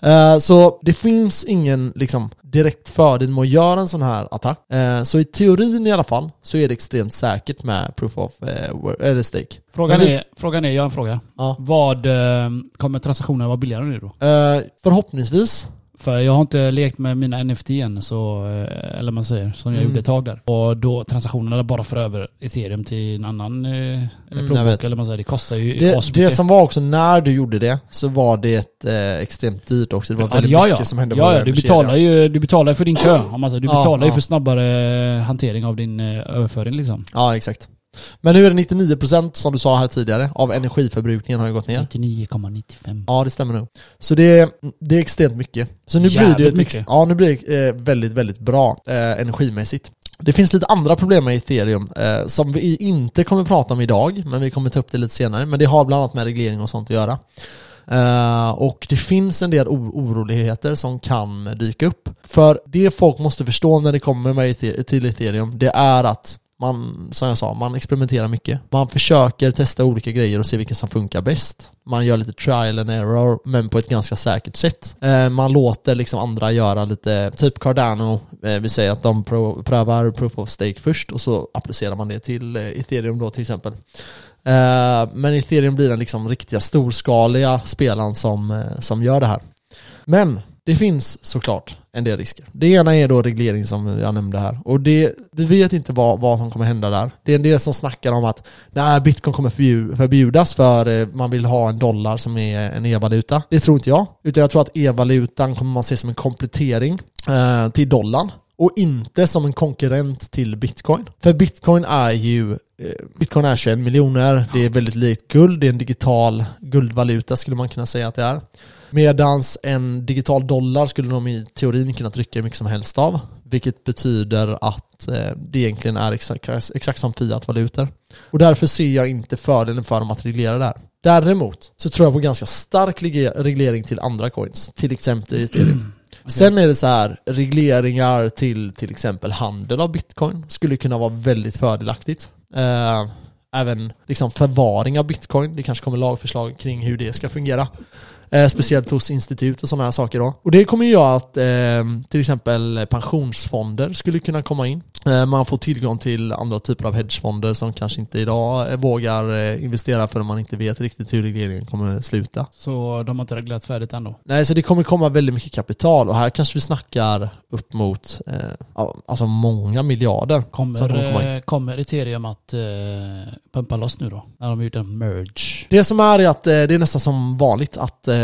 Speaker 1: Eh, Så det finns ingen liksom, direkt fördel med att göra en sån här attack. Eh, Så i teorin i alla fall så är det extremt säkert med proof of eh, wor- eller stake.
Speaker 2: Frågan,
Speaker 1: Men det-
Speaker 2: är, frågan är, jag har en fråga.
Speaker 1: Ja.
Speaker 2: Vad eh, kommer transaktionerna vara billigare nu då?
Speaker 1: Eh, Förhoppningsvis.
Speaker 2: För jag har inte lekt med mina NFT än, så, eh, eller man säger, som jag
Speaker 1: Mm.
Speaker 2: gjorde ett tag där. Och då transaktionerna bara för över ethereum till en annan eh,
Speaker 1: Mm, jag vet.
Speaker 2: plånbok, eller man säger, det kostar ju
Speaker 1: Det, det
Speaker 2: asmycket.
Speaker 1: som var också när du gjorde det så var det eh, extremt dyrt också. Det var
Speaker 2: Ja,
Speaker 1: väldigt
Speaker 2: ja,
Speaker 1: mycket
Speaker 2: ja.
Speaker 1: som hände.
Speaker 2: ja,
Speaker 1: med
Speaker 2: ja,
Speaker 1: vår
Speaker 2: du
Speaker 1: kedja.
Speaker 2: betalar ju du betalar ju för din kö. Om man säger. Du
Speaker 1: Ja,
Speaker 2: betalar ju
Speaker 1: ja.
Speaker 2: för snabbare hantering av din eh, överföring liksom.
Speaker 1: Ja, exakt. Men nu är det 99% som du sa här tidigare av energiförbrukningen har ju gått ner.
Speaker 2: 99,95.
Speaker 1: Ja, det stämmer nog. Så det är, det är extremt mycket. Så nu blir det,
Speaker 2: Jävligt
Speaker 1: ett ex-
Speaker 2: mycket.
Speaker 1: ja, nu blir det eh, väldigt, väldigt bra eh, energimässigt. Det finns lite andra problem med ethereum eh, som vi inte kommer prata om idag, men vi kommer ta upp det lite senare. Men det har bland annat med reglering och sånt att göra. Eh, och det finns en del o- oroligheter som kan dyka upp. För det folk måste förstå när det kommer med ethe- till ethereum, det är att man, som jag sa, man experimenterar mycket. Man försöker testa olika grejer och se vilka som funkar bäst. Man gör lite trial and error, men på ett ganska säkert sätt. Eh, man låter liksom andra göra lite, typ Cardano, eh, vi säger att de pro- prövar proof of stake först och så applicerar man det till eh, ethereum då till exempel. Eh, Men ethereum blir den liksom riktiga storskaliga spelaren som, eh, som gör det här. Men det finns såklart en del risker. Det ena är då reglering som jag nämnde här. Och det, vi vet inte vad, vad som kommer hända där. Det är en del som snackar om att nej, bitcoin kommer förbju- förbjudas för eh, man vill ha en dollar som är en e-valuta. Det tror inte jag. Utan jag tror att e-valutan kommer man se som en komplettering eh, till dollarn. Och inte som en konkurrent till bitcoin. För bitcoin är ju eh, Bitcoin är 21 miljoner, det är väldigt likt guld, det är en digital guldvaluta skulle man kunna säga att det är. Medans en digital dollar skulle de i teorin kunna trycka hur mycket som helst av. Vilket betyder att eh, det egentligen är exakt, exakt som fiatvalutor. Och därför ser jag inte fördelen för dem att reglera det här. Däremot så tror jag på ganska stark lige- reglering till andra coins. Till exempel ethereum. Sen är det så här, regleringar till till exempel handel av bitcoin skulle kunna vara väldigt fördelaktigt. Eh, även liksom förvaring av bitcoin. Det kanske kommer lagförslag kring hur det ska fungera. Eh, speciellt hos institut och sådana här saker då. Och det kommer ju göra att eh, till exempel pensionsfonder skulle kunna komma in. Eh, man får tillgång till andra typer av hedgefonder som kanske inte idag eh, vågar eh, investera förrän man inte vet riktigt hur regleringen kommer sluta.
Speaker 2: Så de har inte reglerat färdigt ändå.
Speaker 1: Nej, så det kommer komma väldigt mycket kapital och här kanske vi snackar upp mot eh, ja, alltså många miljarder. som kommer komma in.
Speaker 2: Kommer, eh, kommer ethereum att eh, pumpa loss nu då? När de har gjort en merge.
Speaker 1: Det som är är att eh, det är nästan som vanligt att eh,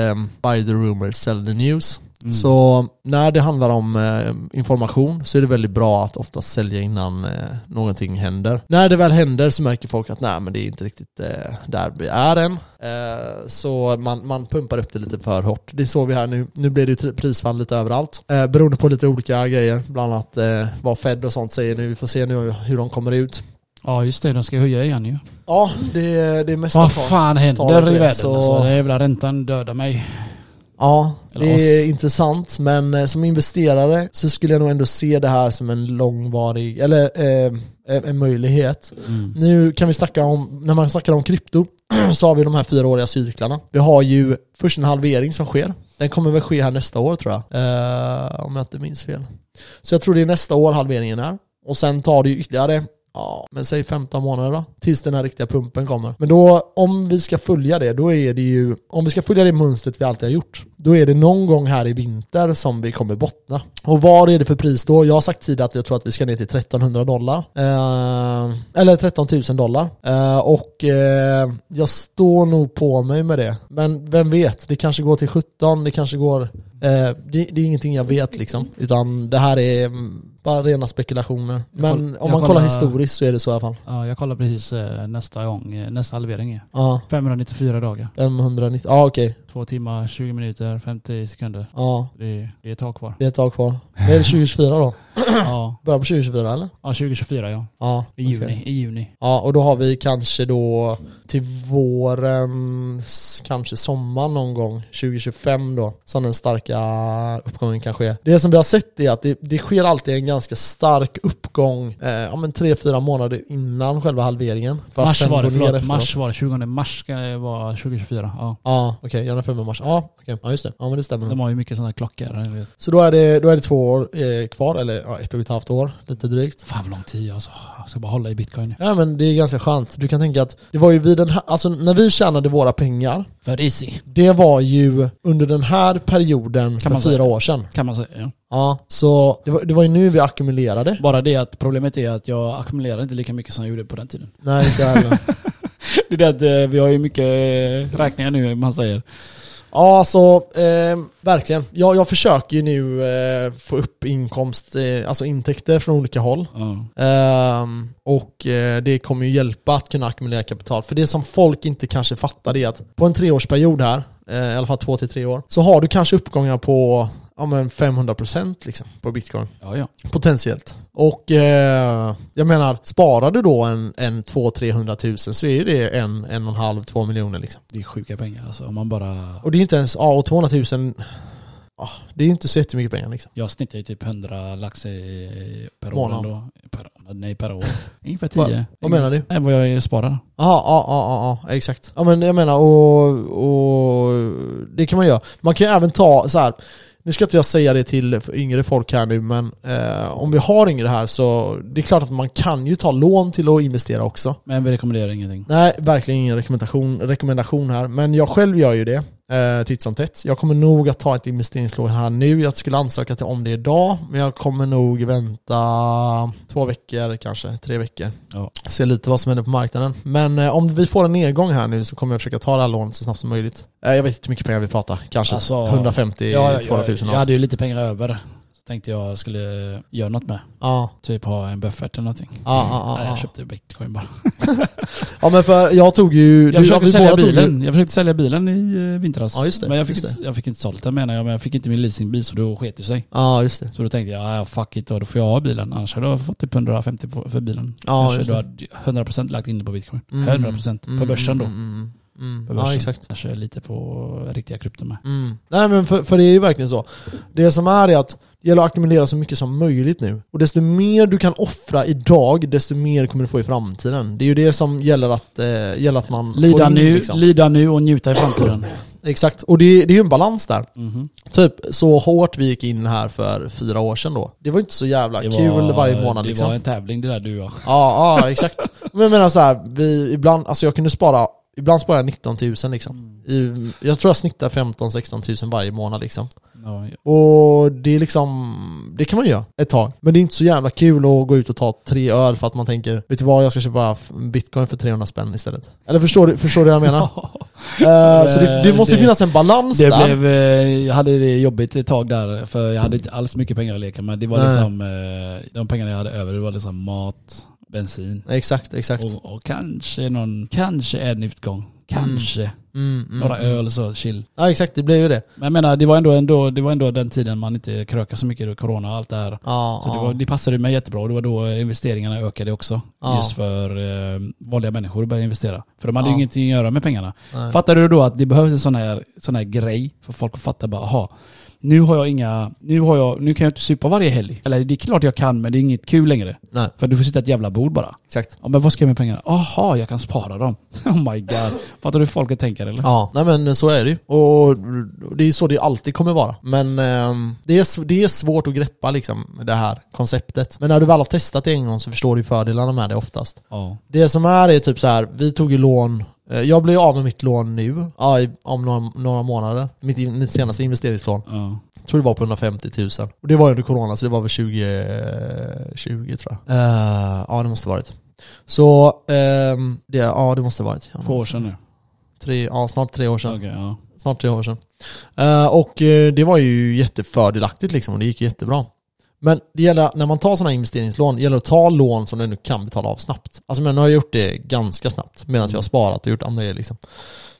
Speaker 1: buy the rumors, sell the news.
Speaker 2: Mm.
Speaker 1: Så när det handlar om eh, information så är det väldigt bra att ofta sälja innan eh, någonting händer. När det väl händer så märker folk att nej men det är inte riktigt eh, där vi är än. Eh, så man, man pumpar upp det lite för hårt. Det såg vi här nu. Nu blir det ju tri- prisfall lite överallt. Eh, beroende på lite olika grejer. Bland annat eh, vad Fed och sånt säger nu. Vi får se nu hur de kommer ut.
Speaker 2: Ja just det, de ska höja igen ju.
Speaker 1: Ja, det, det är mest
Speaker 2: Vad fan
Speaker 1: talet
Speaker 2: händer i
Speaker 1: är
Speaker 2: världen?
Speaker 1: så-
Speaker 2: Alltså, den här jävla räntan dödar mig.
Speaker 1: Ja,
Speaker 2: Eller
Speaker 1: det är
Speaker 2: oss.
Speaker 1: intressant. Men eh, som investerare så skulle jag nog ändå se det här som en långvarig, eller eh, eh, en möjlighet.
Speaker 2: Mm.
Speaker 1: Nu kan vi snacka om, när man snackar om krypto, så har vi de här fyraåriga cyklarna. Vi har ju först en halvering som sker. Den kommer väl ske här nästa år tror jag. Eh, om jag inte minns fel. Så jag tror det är nästa år halveringen är. Och sen tar det ju ytterligare, ja, men säg 15 månader då. Tills den här riktiga pumpen kommer. Men då, om vi ska följa det, då är det ju, om vi ska följa det mönstret vi alltid har gjort, då är det någon gång här i vinter som vi kommer bottna. Och vad är det för pris då? Jag har sagt tidigare att jag tror att vi ska ner till 1300 dollar. Eh, eller 13 000 dollar. Eh, och eh, jag står nog på mig med det. Men vem vet, det kanske går till 17, det kanske går... Eh, det, det är ingenting jag vet liksom. Utan det här är mm, bara rena spekulationer.
Speaker 2: Jag
Speaker 1: Men
Speaker 2: koll-
Speaker 1: om
Speaker 2: jag
Speaker 1: man kollar,
Speaker 2: kollar-
Speaker 1: historiskt så är det så i alla fall.
Speaker 2: Ja, jag kollar precis eh, nästa gång, eh, nästa halvering är.
Speaker 1: Ja,
Speaker 2: 594 dagar.
Speaker 1: 590. Ja okej.
Speaker 2: 2 timmar, 20 minuter, 50 sekunder.
Speaker 1: Ja,
Speaker 2: Det är, det är ett tag kvar.
Speaker 1: det är ett tag kvar. Det är 2024 då?
Speaker 2: Ja,
Speaker 1: Början på 2024 eller?
Speaker 2: ja 2024 ja.
Speaker 1: Ja.
Speaker 2: I
Speaker 1: okej.
Speaker 2: juni. I juni.
Speaker 1: Ja, och då har vi kanske då till våren, s- kanske sommaren någon gång, 2025 då, som den starka uppgången kan ske. Det som vi har sett är att det, det sker alltid en ganska stark uppgång, eh, ja men tre, fyra månader innan själva halveringen. För att
Speaker 2: Mars
Speaker 1: sen
Speaker 2: var
Speaker 1: gå
Speaker 2: det,
Speaker 1: ner
Speaker 2: förlåt.
Speaker 1: efteråt.
Speaker 2: Mars var det. 20 mars ska det vara 2024. Ja.
Speaker 1: Ja, okej, okay, januari, februari, mars. Ja, okej, ja just det. Ja men det stämmer.
Speaker 2: De har ju mycket sådana klockor. jag vet.
Speaker 1: Så då är det, då är det två år eh, kvar, eller ja, ett och ett halvt år, lite drygt.
Speaker 2: Fan vad lång tid alltså. Jag ska bara hålla i bitcoin nu.
Speaker 1: Ja men det är ganska skönt. Du kan tänka att det var ju vid den här, alltså när vi tjänade våra pengar,
Speaker 2: För easy.
Speaker 1: det var ju under den här perioden
Speaker 2: Kan
Speaker 1: för
Speaker 2: man säga.
Speaker 1: fyra år sedan.
Speaker 2: Kan man säga. Ja.
Speaker 1: Ja, så det var, det var ju nu vi ackumulerade.
Speaker 2: Bara det att problemet är att jag ackumulerar inte lika mycket som jag gjorde på den tiden.
Speaker 1: Nej, inte jag heller.
Speaker 2: Det är det att eh, vi har ju mycket eh, räkningar nu, man säger.
Speaker 1: Ja, alltså eh, verkligen. Jag, jag försöker ju nu eh, få upp inkomst, eh, alltså intäkter från olika håll.
Speaker 2: Ja.
Speaker 1: Ehm, och eh, det kommer ju hjälpa att kunna ackumulera kapital. För det som folk inte kanske fattar är att på en treårsperiod här, eh, i alla fall två till tre år, så har du kanske uppgångar på ja, men 500% liksom, på bitcoin.
Speaker 2: Ja, ja.
Speaker 1: Potentiellt. Och eh, jag menar, sparar du då en, en 200-300 tusen så är ju det en, en och en halv, två miljoner liksom.
Speaker 2: Det är sjuka pengar alltså. Om man bara...
Speaker 1: Och det är inte ens, ja och 200 tusen, ah, det är ju inte så jättemycket pengar liksom.
Speaker 2: Jag snittar ju typ 100 lax i- per år
Speaker 1: Månad.
Speaker 2: ändå. Per, nej, per år. Ungefär
Speaker 1: Va-
Speaker 2: 10.
Speaker 1: Vad menar du?
Speaker 2: Nej, vad jag sparar.
Speaker 1: Ja, ja, ja, ja, ja, exakt. Ja men jag menar, och, och det kan man göra. Man kan ju även ta så här. nu ska inte jag säga det till yngre folk här nu men eh, om vi har yngre här så det är klart att man kan ju ta lån till att investera också.
Speaker 2: Men vi rekommenderar ingenting.
Speaker 1: Nej, verkligen ingen rekommendation, rekommendation här. Men jag själv gör ju det eh, titt som tätt. Jag kommer nog att ta ett investeringslån här nu. Jag skulle ansöka till om det idag, men jag kommer nog vänta två veckor kanske, tre veckor.
Speaker 2: Ja.
Speaker 1: Se lite vad som händer på marknaden. Men eh, om vi får en nedgång här nu så kommer jag försöka ta det här lånet så snabbt som möjligt. Eh, jag vet inte hur mycket pengar vi pratar. Kanske
Speaker 2: Alltså,
Speaker 1: 150
Speaker 2: Ja,
Speaker 1: 200 000
Speaker 2: jag, jag hade ju lite pengar över. Så tänkte jag skulle göra något med.
Speaker 1: Ja,
Speaker 2: Typ ha en buffert eller någonting.
Speaker 1: ja, ja,
Speaker 2: nej,
Speaker 1: ja,
Speaker 2: jag
Speaker 1: ja.
Speaker 2: köpte bitcoin bara.
Speaker 1: ja, men för jag tog ju...
Speaker 2: Jag försökte
Speaker 1: vi
Speaker 2: sälja
Speaker 1: båda tog ju-
Speaker 2: bilen. Jag försökte sälja bilen i eh, vintras.
Speaker 1: Ja, just det,
Speaker 2: men jag fick,
Speaker 1: just
Speaker 2: inte, jag fick inte sålt den menar jag. Men jag fick inte min leasingbil så då sket det sig.
Speaker 1: Ja, just det.
Speaker 2: Så då tänkte jag, ah, fuck it, då får jag ha bilen. Annars hade jag fått typ 150 på, för bilen.
Speaker 1: Ja,
Speaker 2: Kanske
Speaker 1: just
Speaker 2: då
Speaker 1: det.
Speaker 2: hade jag 100% lagt in det på bitcoin.
Speaker 1: Mm.
Speaker 2: 100% på
Speaker 1: Mm,
Speaker 2: börsen då.
Speaker 1: mm, Mm, mm,
Speaker 2: På
Speaker 1: mm. Ja,
Speaker 2: börsen.
Speaker 1: exakt.
Speaker 2: Kanske lite på riktiga krypto med.
Speaker 1: Mm. Nej men för, för det är ju verkligen så. Det som är är att det gäller att ackumulera så mycket som möjligt nu. Och desto mer du kan offra idag, desto mer kommer du få i framtiden. Det är ju det som gäller att, eh, gäller att man får
Speaker 2: Lida
Speaker 1: in,
Speaker 2: nu,
Speaker 1: liksom.
Speaker 2: lida nu och njuta i framtiden.
Speaker 1: Exakt, och det, det är ju en balans där.
Speaker 2: Mhm.
Speaker 1: Typ så hårt vi gick in här för fyra år sedan då. Det var ju inte så jävla
Speaker 2: Det
Speaker 1: kul
Speaker 2: var-
Speaker 1: varje månad
Speaker 2: Det
Speaker 1: liksom.
Speaker 2: var en tävling det där du och jag.
Speaker 1: Ja, ja exakt. Men jag menar så här, vi, ibland, alltså jag kunde spara, ibland sparade jag 19 000 liksom. I, jag tror jag snittar 15-16 000 varje månad liksom.
Speaker 2: Ja, ja.
Speaker 1: Och det är liksom, det kan man göra ett tag. Men det är inte så jävla kul att gå ut och ta tre öl för att man tänker, vet du vad, jag ska köpa f- bitcoin för 300 spänn istället. Eller förstår du, förstår du vad jag menar? Eh, så det, det måste
Speaker 2: Det-
Speaker 1: finnas en balans
Speaker 2: Det
Speaker 1: där.
Speaker 2: blev, eh, jag hade det jobbigt ett tag där för jag hade inte alls mycket pengar att leka med. Det var
Speaker 1: Nej.
Speaker 2: liksom, eh, de pengarna jag hade över det var liksom mat, bensin
Speaker 1: Exakt, exakt.
Speaker 2: och, och kanske någon, kanske en utgång. Kanske.
Speaker 1: Mm, mm,
Speaker 2: Några
Speaker 1: mm.
Speaker 2: öl så, chill.
Speaker 1: Ja exakt, det blev ju det.
Speaker 2: Men jag menar, det var ändå, ändå, det var ändå den tiden man inte krökade så mycket, då, corona och allt det här.
Speaker 1: Ja,
Speaker 2: Så det,
Speaker 1: ja.
Speaker 2: var, det passade mig jättebra och det var då investeringarna ökade också.
Speaker 1: Ja.
Speaker 2: Just för eh, vanliga människor att börja investera. För de hade
Speaker 1: Ja.
Speaker 2: ju ingenting att göra med pengarna.
Speaker 1: Nej.
Speaker 2: Fattar du då att det behövs en sån här, sån här grej för folk att fatta bara, aha, nu har jag inga, nu har jag, nu kan jag inte supa varje helg. Eller det är klart jag kan men det är inget kul längre.
Speaker 1: Nej,
Speaker 2: För du får sitta i ett jävla bord bara.
Speaker 1: exakt.
Speaker 2: Ja, men vad ska jag med pengarna? Aha, jag kan spara dem. Oh my god. Fattar du hur folket tänker eller?
Speaker 1: Ja, nej men så är det ju. Och det är så det alltid kommer vara. Men ehm, det, är, sv- det är svårt att greppa liksom det här konceptet. Men när du väl har testat det en gång så förstår du fördelarna med det oftast.
Speaker 2: Ja.
Speaker 1: Det som är är typ så här, vi tog ju lån eh, jag blir av med mitt lån nu, ja, i- om några, några månader. Mitt, in- mitt senaste investeringslån.
Speaker 2: ja.
Speaker 1: Jag tror det var på 150 000. Och det var ju under corona, så det var väl 2020 20, tror jag. Eh, ja, det måste ha varit. Så, ehm, det, ja det måste ha varit. Ja,
Speaker 2: Två år sedan nu.
Speaker 1: Tre, ja, snart tre år sedan
Speaker 2: Okej, ja.
Speaker 1: snart tre år sedan. Eh, och eh, det var ju jättefördelaktigt liksom och det gick jättebra. Men det gäller, när man tar sådana investeringslån, det gäller att ta lån som du nu kan betala av snabbt. Alltså men nu har jag gjort det ganska snabbt medan jag har sparat och gjort andra grejer liksom.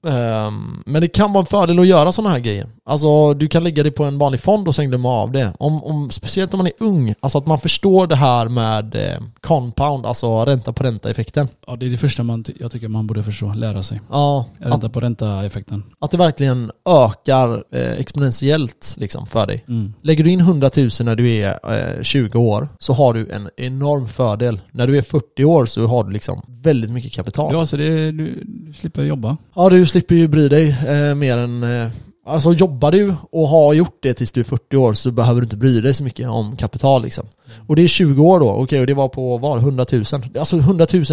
Speaker 1: Ehm, men det kan vara en fördel att göra sådana här grejer. Alltså du kan lägga det på en vanlig fond och sen glömma av det. Om, om, speciellt om man är ung, alltså att man förstår det här med eh, compound, alltså ränta på ränta-effekten.
Speaker 2: ja, det är det första man, ty- jag tycker man borde förstå, lära sig.
Speaker 1: Ja, att,
Speaker 2: Ränta på ränta-effekten.
Speaker 1: att det verkligen ökar eh, exponentiellt liksom för dig.
Speaker 2: Mm.
Speaker 1: Lägger du in 100 000 när du är eh, 20 år så har du en enorm fördel. När du är 40 år så har du liksom väldigt mycket kapital. Ja,
Speaker 2: Ja, så det, du, du slipper jobba.
Speaker 1: du slipper ju bry dig eh, mer än... Eh, alltså jobbar du och har gjort det tills du är 40 år så behöver du inte bry dig så mycket om kapital liksom. Och det är 20 år då, okej och det var på var 100 000. Alltså 100 000,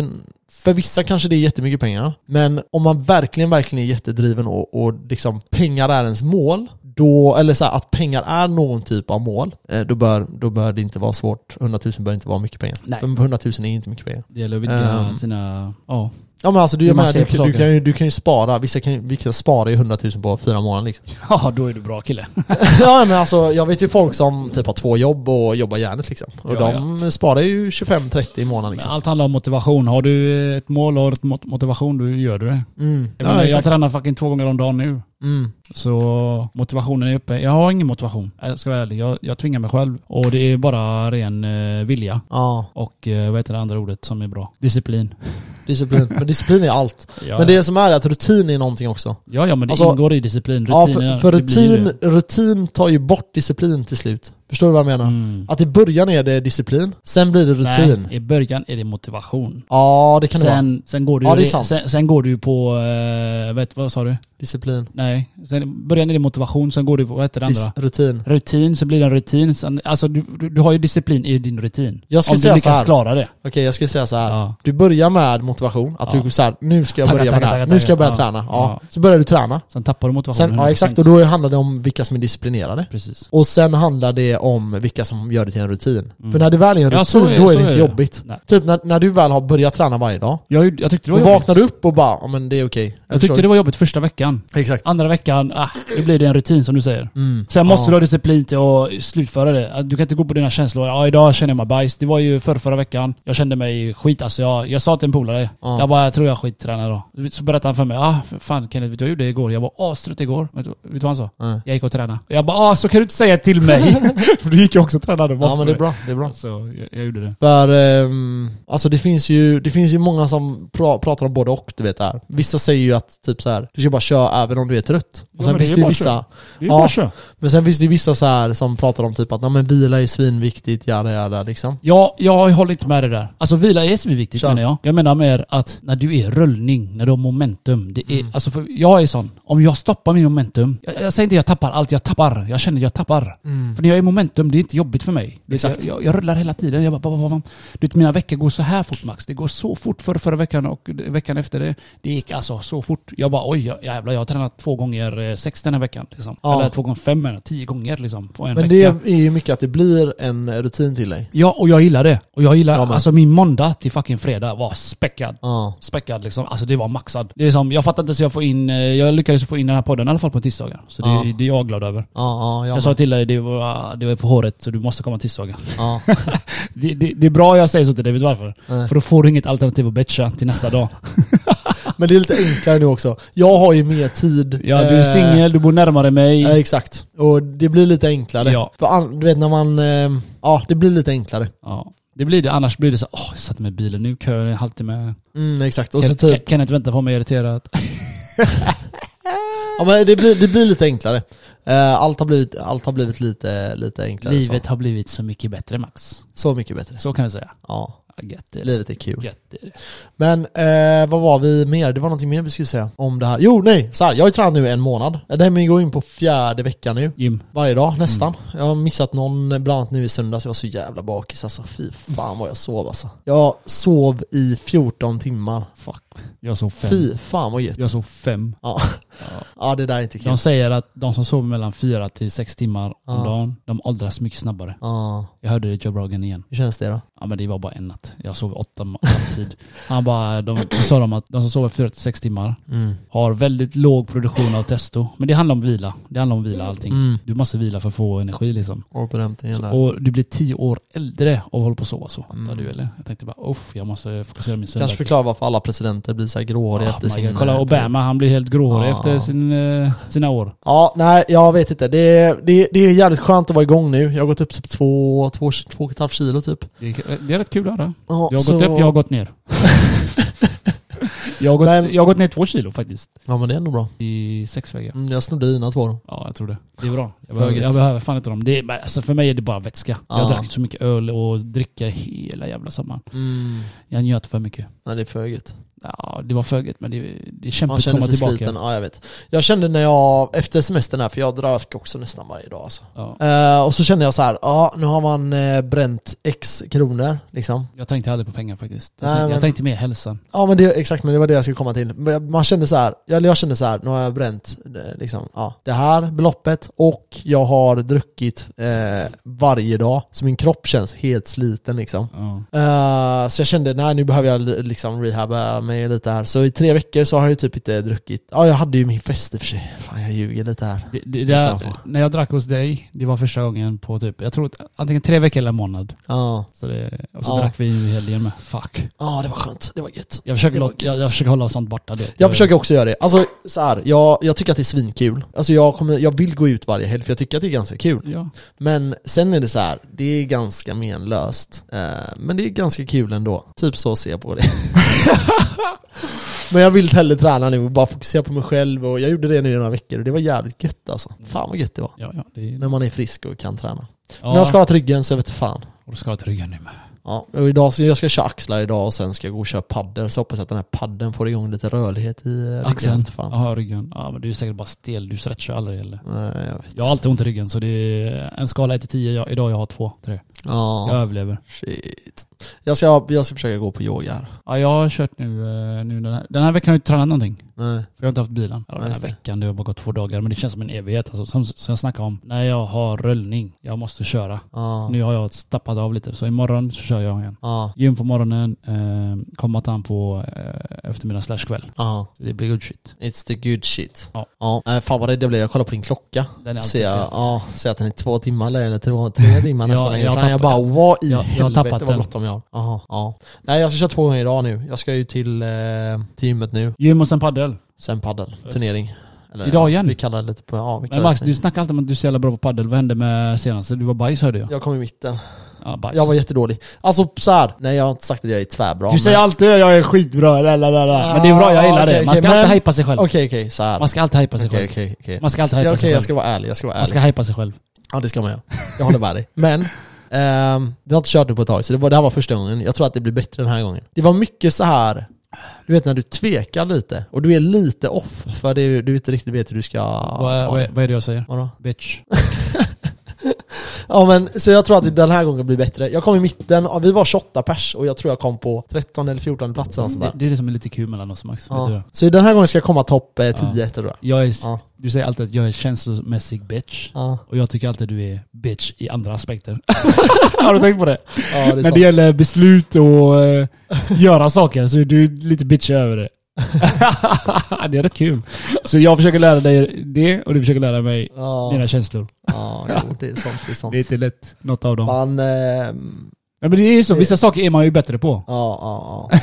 Speaker 1: för vissa kanske det är jättemycket pengar. Men om man verkligen, verkligen är jättedriven och, och liksom pengar är ens mål, då, eller så här, att pengar är någon typ av mål, eh, då bör, då bör det inte vara svårt. 100 000 bör inte vara mycket pengar.
Speaker 2: Nej.
Speaker 1: För 100 000 är inte mycket pengar.
Speaker 2: Det gäller att vidga
Speaker 1: Ehm.
Speaker 2: sina... Ja.
Speaker 1: Ja men alltså du,
Speaker 2: Hur
Speaker 1: jag
Speaker 2: man
Speaker 1: menar,
Speaker 2: ser
Speaker 1: du,
Speaker 2: på
Speaker 1: kan- du,
Speaker 2: saker.
Speaker 1: kan, ju, du kan ju spara, vissa, kan, vissa sparar ju 100 000 på fyra månader liksom.
Speaker 2: ja, då är du bra kille.
Speaker 1: Ja men alltså jag vet ju folk som typ har två jobb och jobbar järnet liksom. Och
Speaker 2: Ja,
Speaker 1: de sparar ju 25-30 i månaden
Speaker 2: Men
Speaker 1: liksom.
Speaker 2: Allt handlar om motivation. Har du eh, ett mål och har du ett mot- motivation, då gör du det.
Speaker 1: Mm.
Speaker 2: Jag, menar, jag tränar fucking två gånger om dagen nu.
Speaker 1: Mm.
Speaker 2: Så motivationen är uppe. Jag har ingen motivation. Jag ska vara ärlig. Jag, jag tvingar mig själv. Och det är bara ren eh, vilja.
Speaker 1: Ja,
Speaker 2: Och eh, vad heter det andra ordet som är bra? Disciplin.
Speaker 1: disciplin. Men disciplin är allt.
Speaker 2: Ja,
Speaker 1: Men det som är är att rutin är någonting också.
Speaker 2: ja, ja men det
Speaker 1: Alltså-
Speaker 2: ingår i disciplin.
Speaker 1: Ja,
Speaker 2: Rutin,
Speaker 1: för, för
Speaker 2: det blir ju
Speaker 1: rutin,
Speaker 2: det.
Speaker 1: rutin tar ju bort disciplin till slut. Förstår du vad jag menar?
Speaker 2: Mm.
Speaker 1: Att i början är det disciplin, sen blir det rutin.
Speaker 2: Nej, I början är det motivation.
Speaker 1: Ja, det kan det vara.
Speaker 2: Sen, sen går du
Speaker 1: Ja, det
Speaker 2: ju
Speaker 1: är
Speaker 2: re-
Speaker 1: sant.
Speaker 2: sen, sen går du ju på, eh, vet, vad sa du?
Speaker 1: Disciplin.
Speaker 2: Nej, sen i början är det motivation, sen går du på, vad heter det andra?
Speaker 1: Dis- rutin.
Speaker 2: rutin, så blir det en rutin. Sen, alltså du, du, du har ju disciplin i din rutin.
Speaker 1: Jag skulle
Speaker 2: Om
Speaker 1: säga
Speaker 2: du
Speaker 1: så
Speaker 2: lyckas
Speaker 1: här.
Speaker 2: klara det.
Speaker 1: Okej, jag skulle säga så här.
Speaker 2: Ja.
Speaker 1: Du börjar med motivation, att
Speaker 2: Ja.
Speaker 1: du såhär, nu ska jag
Speaker 2: Tagga,
Speaker 1: börja med
Speaker 2: tagga,
Speaker 1: det här.
Speaker 2: tagga,
Speaker 1: nu ska jag börja
Speaker 2: tagga.
Speaker 1: träna. Ja.
Speaker 2: Ja.
Speaker 1: Så börjar du träna.
Speaker 2: Sen tappar du motivationen.
Speaker 1: Sen, ja exakt, och
Speaker 2: 100%.
Speaker 1: då handlar det om vilka som är disciplinerade.
Speaker 2: Precis.
Speaker 1: Och sen handlar det om vilka som gör det till en rutin. För när det väl är en rutin,
Speaker 2: Mm. Ja, så är-
Speaker 1: då är
Speaker 2: så
Speaker 1: det
Speaker 2: är
Speaker 1: inte
Speaker 2: det.
Speaker 1: jobbigt.
Speaker 2: Nej.
Speaker 1: Typ när, när du väl har börjat träna varje dag,
Speaker 2: Jag, jag tyckte det
Speaker 1: då
Speaker 2: var
Speaker 1: vaknar
Speaker 2: jobbigt.
Speaker 1: du upp och bara, ja men det är okej.
Speaker 2: Jag tyckte det var jobbigt första veckan.
Speaker 1: Exakt.
Speaker 2: Andra veckan, ah, nu blir det en rutin som du säger.
Speaker 1: Mm.
Speaker 2: Sen måste
Speaker 1: Ja.
Speaker 2: du ha disciplin till att slutföra det. Att Du kan inte gå på dina känslor. Ja, idag känner jag mig bajs. Det var ju förra, förra veckan. Jag kände mig skit. Alltså jag, jag sa till en polare,
Speaker 1: Ja.
Speaker 2: jag bara jag tror jag skittränar idag. Så berättade han för mig, ah, fan Kenneth, vet du vad jag gjorde igår? Jag var astrött igår. Vet du, vet du vad han sa?
Speaker 1: Nej.
Speaker 2: Jag gick och tränade. Och jag bara, ah, så kan du inte säga till mig. för du gick ju också och tränade.
Speaker 1: Ja
Speaker 2: Varför?
Speaker 1: men det är bra, det är bra.
Speaker 2: Så jag, jag gjorde det.
Speaker 1: För, ehm, alltså det finns ju, det finns ju många som pra, pratar om både och, du vet där. Vissa säger ju att typ så här, du ska bara köra även om du är trött. Och
Speaker 2: Ja,
Speaker 1: sen
Speaker 2: men det
Speaker 1: finns
Speaker 2: är
Speaker 1: det ju
Speaker 2: bara
Speaker 1: vissa,
Speaker 2: Det
Speaker 1: är Ja. bara
Speaker 2: så.
Speaker 1: men sen finns det ju vissa så här som pratar om typ att, nej men vila är svinviktigt, jada jada liksom.
Speaker 2: Ja, jag håller inte med det där. Alltså vila är svinviktigt
Speaker 1: Kör.
Speaker 2: menar jag. Jag menar mer att när du är i rullning, när du har momentum. Det är, alltså för jag är sån, om jag stoppar min momentum. Jag, jag säger inte jag tappar allt, jag tappar. Jag känner att jag tappar. För när jag är i momentum, det är inte jobbigt för mig. Du vet,
Speaker 1: Exakt.
Speaker 2: Jag, jag, jag rullar hela tiden. Jag bara, bara, bara, bara. Du vet, mina veckor går så här fort Max. Det går så fort för förra veckan och veckan efter det. Det gick alltså så fort. Jag bara oj jag- jävlar, jag har tränat två gånger eh, sex den här veckan. Liksom.
Speaker 1: Ja.
Speaker 2: Eller två gånger fem, eller tio gånger liksom, på en
Speaker 1: Men
Speaker 2: vecka.
Speaker 1: det är ju mycket att det blir en rutin till dig.
Speaker 2: Ja, och jag gillar det. Och jag gillar,
Speaker 1: Jag med.
Speaker 2: alltså min måndag till fucking fredag var späckad.
Speaker 1: Ja.
Speaker 2: Späckad liksom. Alltså det var maxad. Det är som, jag fattar inte så jag får in, eh, jag lyckades få in den här podden i alla fall på tisdagar. Så det,
Speaker 1: Ja.
Speaker 2: det är jag glad över.
Speaker 1: Ja, ja,
Speaker 2: Jag sa till dig, det var, det var på håret så du måste komma tisdagar.
Speaker 1: ja.
Speaker 2: Det, det, det är bra jag säger så till dig, vet du varför?
Speaker 1: Nej.
Speaker 2: För då får du inget alternativ att bitcha till nästa dag.
Speaker 1: Men det är lite enklare nu också. Jag har ju mer tid.
Speaker 2: Ja, du är
Speaker 1: Eh,
Speaker 2: singel, du bor närmare mig.
Speaker 1: Ja, exakt. Och det blir lite enklare.
Speaker 2: Ja.
Speaker 1: För an- du vet när man... eh, Ja, det blir lite enklare.
Speaker 2: Ja. Det blir det, annars blir det så åh jag satt med bilen nu, kör en halvtimme.
Speaker 1: Mm, exakt. Och så
Speaker 2: Ken-
Speaker 1: typ...
Speaker 2: Kenneth väntar på mig irriterat.
Speaker 1: Ja, men det, blir, det blir lite enklare. Eh, Allt har blivit, allt har blivit lite, lite enklare.
Speaker 2: Livet har blivit så mycket bättre Max.
Speaker 1: Så. så mycket bättre.
Speaker 2: Så kan vi säga.
Speaker 1: Ja,
Speaker 2: Ja, Gött är det.
Speaker 1: livet är kul.
Speaker 2: Gött är det.
Speaker 1: Men eh, vad var vi mer? Det var någonting mer vi skulle säga om det här. Jo, nej! Så här, jag har ju tränat nu en månad. Eh, Det här med att gå in på fjärde veckan nu.
Speaker 2: Gym.
Speaker 1: Varje dag, nästan.
Speaker 2: Mm.
Speaker 1: Jag har missat någon, bland annat nu i söndags. Jag var så jävla bakis alltså. Fy fan vad jag sov alltså. Jag sov i 14 timmar.
Speaker 2: Fuck. Jag såg fem.
Speaker 1: Fy fan vad gött.
Speaker 2: Jag såg fem.
Speaker 1: Ja. ja, det där är inte kul.
Speaker 2: De säger att de som sover mellan fyra till sex timmar om
Speaker 1: Ja.
Speaker 2: dagen, de åldras mycket snabbare.
Speaker 1: Ja,
Speaker 2: Jag hörde det i Joe Rogan igen.
Speaker 1: hur känns det då?
Speaker 2: Ja men det var bara en natt. Jag sov åtta ma- tid. Han bara, de då sa de att de som sover fyra till sex timmar har väldigt låg produktion av testo. Men det handlar om vila. Det handlar om vila allting.
Speaker 1: Mm.
Speaker 2: Du måste vila för att få energi liksom.
Speaker 1: Återhämtningen
Speaker 2: Så,
Speaker 1: där.
Speaker 2: och du blir tio år äldre och håller på att sova så. Fattar
Speaker 1: Mm.
Speaker 2: du eller? Jag tänkte bara, uff, jag måste fokusera min
Speaker 1: Kanske förklara varför alla presidenter blir så här gråhåriga efter
Speaker 2: Oh my
Speaker 1: sin... eh, Ah.
Speaker 2: God. Kolla Obama, han blir helt gråhårig
Speaker 1: Ja.
Speaker 2: efter sin, eh, sina år.
Speaker 1: Ja, nej, jag vet inte. Det, det, det är jävligt skönt att vara igång nu. Jag har gått upp typ två, två, två och ett halvt kilo typ.
Speaker 2: Det är, det är rätt kul att höra.
Speaker 1: Ja,
Speaker 2: Jag har
Speaker 1: så-
Speaker 2: gått upp, jag har gått ner. jag, har gått,
Speaker 1: Men-
Speaker 2: jag har gått ner två kilo faktiskt.
Speaker 1: Ja men det är ändå bra.
Speaker 2: I sex veckor.
Speaker 1: Mm, jag snodde dina två då.
Speaker 2: Ja, jag tror det. Det är bra. Jag behöver,
Speaker 1: Högt.
Speaker 2: jag behöver fan inte dem. Det är, bara- alltså för mig är det bara vätska. Jag
Speaker 1: Ja.
Speaker 2: drack så mycket öl och dricka hela jävla sommaren.
Speaker 1: Mm.
Speaker 2: Jag njöt för mycket.
Speaker 1: Nej det är för gött.
Speaker 2: Ja, det var föget men det, det är
Speaker 1: Man
Speaker 2: kämpigt att
Speaker 1: känner
Speaker 2: komma
Speaker 1: sig
Speaker 2: tillbaka.
Speaker 1: sliten. Ja jag vet. Jag kände när jag, efter semestern här, för jag drack också nästan varje dag alltså.
Speaker 2: Ja.
Speaker 1: Eh, och så kände jag så här, ja nu har man eh, bränt x kronor liksom.
Speaker 2: Jag tänkte aldrig på pengar faktiskt. Jag,
Speaker 1: Nej,
Speaker 2: tänkte, jag
Speaker 1: men-
Speaker 2: tänkte mer hälsan.
Speaker 1: Ja men det, exakt, men det var det jag skulle komma till. Men jag- Man kände så här, eller jag kände så här, nu har jag bränt eh, liksom, ja, det här beloppet och jag har druckit eh, varje dag. Så min kropp känns helt sliten liksom.
Speaker 2: Ja.
Speaker 1: Eh, så jag kände, nej nu behöver jag li- liksom rehabba mig lite här. Så i tre veckor så har jag ju typ inte druckit. Ja, jag hade ju min fest i och för sig. Fan, jag ljuger lite här.
Speaker 2: Det, det,
Speaker 1: Ja,
Speaker 2: där,
Speaker 1: fan.
Speaker 2: när jag drack hos dig, det var första gången på typ, jag tror att- antingen tre veckor eller en månad.
Speaker 1: Ja,
Speaker 2: Så det, och så
Speaker 1: Ja.
Speaker 2: drack vi i helgen med. Fuck.
Speaker 1: ja det var skönt. Det var gött.
Speaker 2: Jag försöker,
Speaker 1: Det var
Speaker 2: låta, jag, jag försöker hålla sånt borta. Det.
Speaker 1: Jag försöker också göra det. Alltså så här, jag, jag tycker att det är svinkul. Alltså jag, kommer, jag vill gå ut varje helg för jag tycker att det är ganska kul.
Speaker 2: Ja.
Speaker 1: Men sen är det så här, det är ganska menlöst. Eh, men det är ganska kul ändå. Typ så ser jag på det. men jag vill hellre träna nu och bara fokusera på mig själv. Och jag gjorde det nu i några veckor och det var jävligt gött alltså. Fan vad gött det var.
Speaker 2: Ja, ja, det är,
Speaker 1: När man är frisk och kan träna.
Speaker 2: ja.
Speaker 1: Men jag har skadat ryggen så jag vet fan.
Speaker 2: Och du ska ha trygga nu med.
Speaker 1: Ja, och idag, så jag ska köra axlar idag och sen ska jag gå och köra paddor Så hoppas jag att den här padden får igång lite rörlighet i eh, ryggen.
Speaker 2: Axeln.
Speaker 1: Vet Fan.
Speaker 2: Jaha, ryggen. Ja, men du är säkert bara stel. Du stretchar aldrig eller?
Speaker 1: Nej, jag vet.
Speaker 2: Jag har alltid ont i ryggen så det är en skala 1 till 10. Jag, idag jag har 2, 3.
Speaker 1: Ja,
Speaker 2: Jag överlever.
Speaker 1: shit. Jag ska, jag ska försöka gå på yoga här.
Speaker 2: Ja, jag har kört nu, eh, nu den, här, den här veckan har jag inte tränat någonting.
Speaker 1: Nej.
Speaker 2: För jag har inte haft bilen. Eller den här
Speaker 1: just det.
Speaker 2: veckan, det har bara gått två dagar. Men det känns som en evighet. Alltså, som, som jag snackade om, när jag har rullning, jag måste köra.
Speaker 1: Ja.
Speaker 2: Nu har jag stappat av lite, så imorgon så kör jag igen.
Speaker 1: Ja.
Speaker 2: Gym på morgonen, eh, kommatan på eh, eftermiddag slash kväll.
Speaker 1: Ja.
Speaker 2: Så det blir good shit.
Speaker 1: It's the good shit.
Speaker 2: Ja.
Speaker 1: ja. Nej, fan vad rädd jag blev. Jag kollar på din klocka.
Speaker 2: Den
Speaker 1: Ser
Speaker 2: är alltid
Speaker 1: jag,
Speaker 2: fel.
Speaker 1: ja, ser att den är två timmar längre, eller två, tre timmar
Speaker 2: Ja,
Speaker 1: nästan längre
Speaker 2: jag har
Speaker 1: fram. Jag bara,
Speaker 2: tappat-
Speaker 1: vad i
Speaker 2: jag- jag har
Speaker 1: helvete
Speaker 2: tappat
Speaker 1: vad
Speaker 2: den.
Speaker 1: bråttom jag har. Aha, ja. Nej, jag ska köra två gånger idag nu. Jag ska ju till, eh, till gymmet nu.
Speaker 2: Gym och sen padel.
Speaker 1: Sen paddel, turnering. Eller,
Speaker 2: Idag igen?
Speaker 1: Vi kallar det lite på, ja vi kallar
Speaker 2: Men Max,
Speaker 1: det
Speaker 2: du snackar alltid om att du är så jävla bra på padel. Vad hände med senaste? Du var bajs hörde jag.
Speaker 1: Jag kom i mitten.
Speaker 2: Ja, bajs.
Speaker 1: Jag var jättedålig. Alltså så här. nej jag har inte sagt att jag är tvärbra.
Speaker 2: du säger
Speaker 1: men-
Speaker 2: alltid att jag är skitbra, la, la, la, la. men det är bra, jag gillar
Speaker 1: Ah, okej,
Speaker 2: det. Man ska
Speaker 1: okej, men-
Speaker 2: alltid hypa sig själv.
Speaker 1: Okej okej, så här.
Speaker 2: Man ska alltid hypa sig
Speaker 1: Okej
Speaker 2: själv.
Speaker 1: okej okej.
Speaker 2: Man ska alltid
Speaker 1: Ja,
Speaker 2: hypa
Speaker 1: Okej
Speaker 2: sig
Speaker 1: jag
Speaker 2: själv.
Speaker 1: ska vara ärlig, jag ska vara
Speaker 2: Man
Speaker 1: ärlig.
Speaker 2: ska hypa sig själv.
Speaker 1: Ja det ska man göra. Jag håller med dig. Men, ehm, vi har inte kört nu på ett tag, så det, var, det här var första gången. Jag tror att det blir bättre den här gången. Det var mycket så här du vet när du tvekar lite och du är lite off för det, du inte riktigt vet hur du ska
Speaker 2: vad,
Speaker 1: ta
Speaker 2: vad,
Speaker 1: det.
Speaker 2: är- vad är det jag säger?
Speaker 1: Vadå?
Speaker 2: Bitch.
Speaker 1: Ja men så jag tror att den här gången blir bättre. Jag kom i mitten, ja, vi var 28 pers och jag tror jag kom på 13 eller 14 plats eller sånt
Speaker 2: Det,
Speaker 1: där.
Speaker 2: det är det som är lite kul mellan oss Max. Vet du
Speaker 1: Ja.
Speaker 2: det?
Speaker 1: Så den här gången ska jag komma topp eh, 10
Speaker 2: Ja.
Speaker 1: tror jag.
Speaker 2: jag är,
Speaker 1: Ja.
Speaker 2: Du säger alltid att jag är känslomässig bitch.
Speaker 1: Ja.
Speaker 2: Och jag tycker alltid att du är bitch i andra aspekter. Har du tänkt på det?
Speaker 1: Ja, det är
Speaker 3: När
Speaker 1: sant.
Speaker 3: det gäller beslut och eh, göra saker så är du lite bitchig över det.
Speaker 2: det är rätt kul. Så jag försöker lära dig det och du försöker lära mig
Speaker 1: Ja,
Speaker 2: mina känslor.
Speaker 1: ja jo, det är sant. Det är sant.
Speaker 3: Det är inte lätt.
Speaker 2: Något av dem.
Speaker 1: Man, ehm,
Speaker 2: Ja, men det är ju så, vissa saker är man ju bättre på.
Speaker 1: Ja, ja, ja.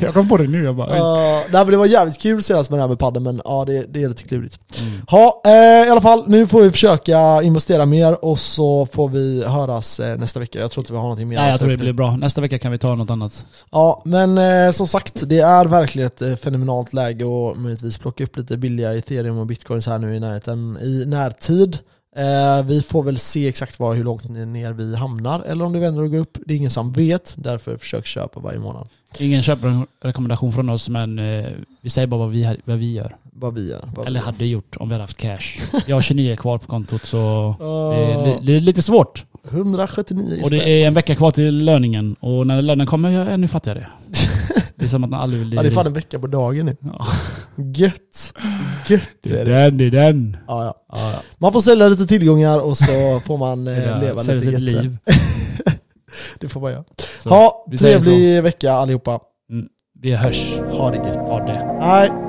Speaker 3: Jag kom på det nu, jag bara... oj.
Speaker 1: Uh, nej, men det var jävligt kul senast med det här med padden men ja det, det är lite klurigt.
Speaker 2: Mm.
Speaker 1: Ha, eh, I alla fall, nu får vi försöka investera mer och så får vi höras eh, nästa vecka. Jag tror inte vi har någonting mer.
Speaker 2: Nej, jag
Speaker 1: att ta
Speaker 2: tror det
Speaker 1: upp nu.
Speaker 2: blir bra. Nästa vecka kan vi ta något annat.
Speaker 1: Ja, men eh, som sagt, det är verkligen ett eh, fenomenalt läge och möjligtvis plocka upp lite billiga ethereum och bitcoins här nu i närheten i närtid. Eh, vi får väl se exakt var, hur långt ner vi hamnar eller om det vänder och går upp. Det är ingen som vet, därför försök köpa varje månad.
Speaker 2: Ingen köprekommendation från oss, men eh, vi säger bara vad vi, vad vi gör.
Speaker 1: Vad vi gör. Vad
Speaker 2: Eller
Speaker 1: vi gör.
Speaker 2: hade gjort om vi hade haft cash. Jag har 29 kvar på kontot så det
Speaker 1: Eh,
Speaker 2: är, li- det är lite svårt.
Speaker 1: 179
Speaker 2: Och
Speaker 1: spänn.
Speaker 2: det är en vecka kvar till löningen. Och när lönen kommer, jag är ännu fattigare. Det är som att man aldrig vill...
Speaker 1: Ja, det är fan en vecka på dagen nu.
Speaker 2: Ja.
Speaker 1: Gött! Gött
Speaker 3: Det är
Speaker 1: är det.
Speaker 3: den, det är den.
Speaker 1: Ja, ja.
Speaker 2: Ja, ja.
Speaker 1: Man får sälja lite tillgångar och så får man eh,
Speaker 2: Ja,
Speaker 1: leva
Speaker 2: sälja
Speaker 1: lite
Speaker 2: sitt
Speaker 1: gött sen.
Speaker 2: liv.
Speaker 1: Det får man göra.
Speaker 2: Så,
Speaker 1: ha,
Speaker 2: vi säger
Speaker 1: trevlig vecka allihopa.
Speaker 2: Vi hörs.
Speaker 1: Ha det gött.
Speaker 2: Ha det.
Speaker 1: Hej!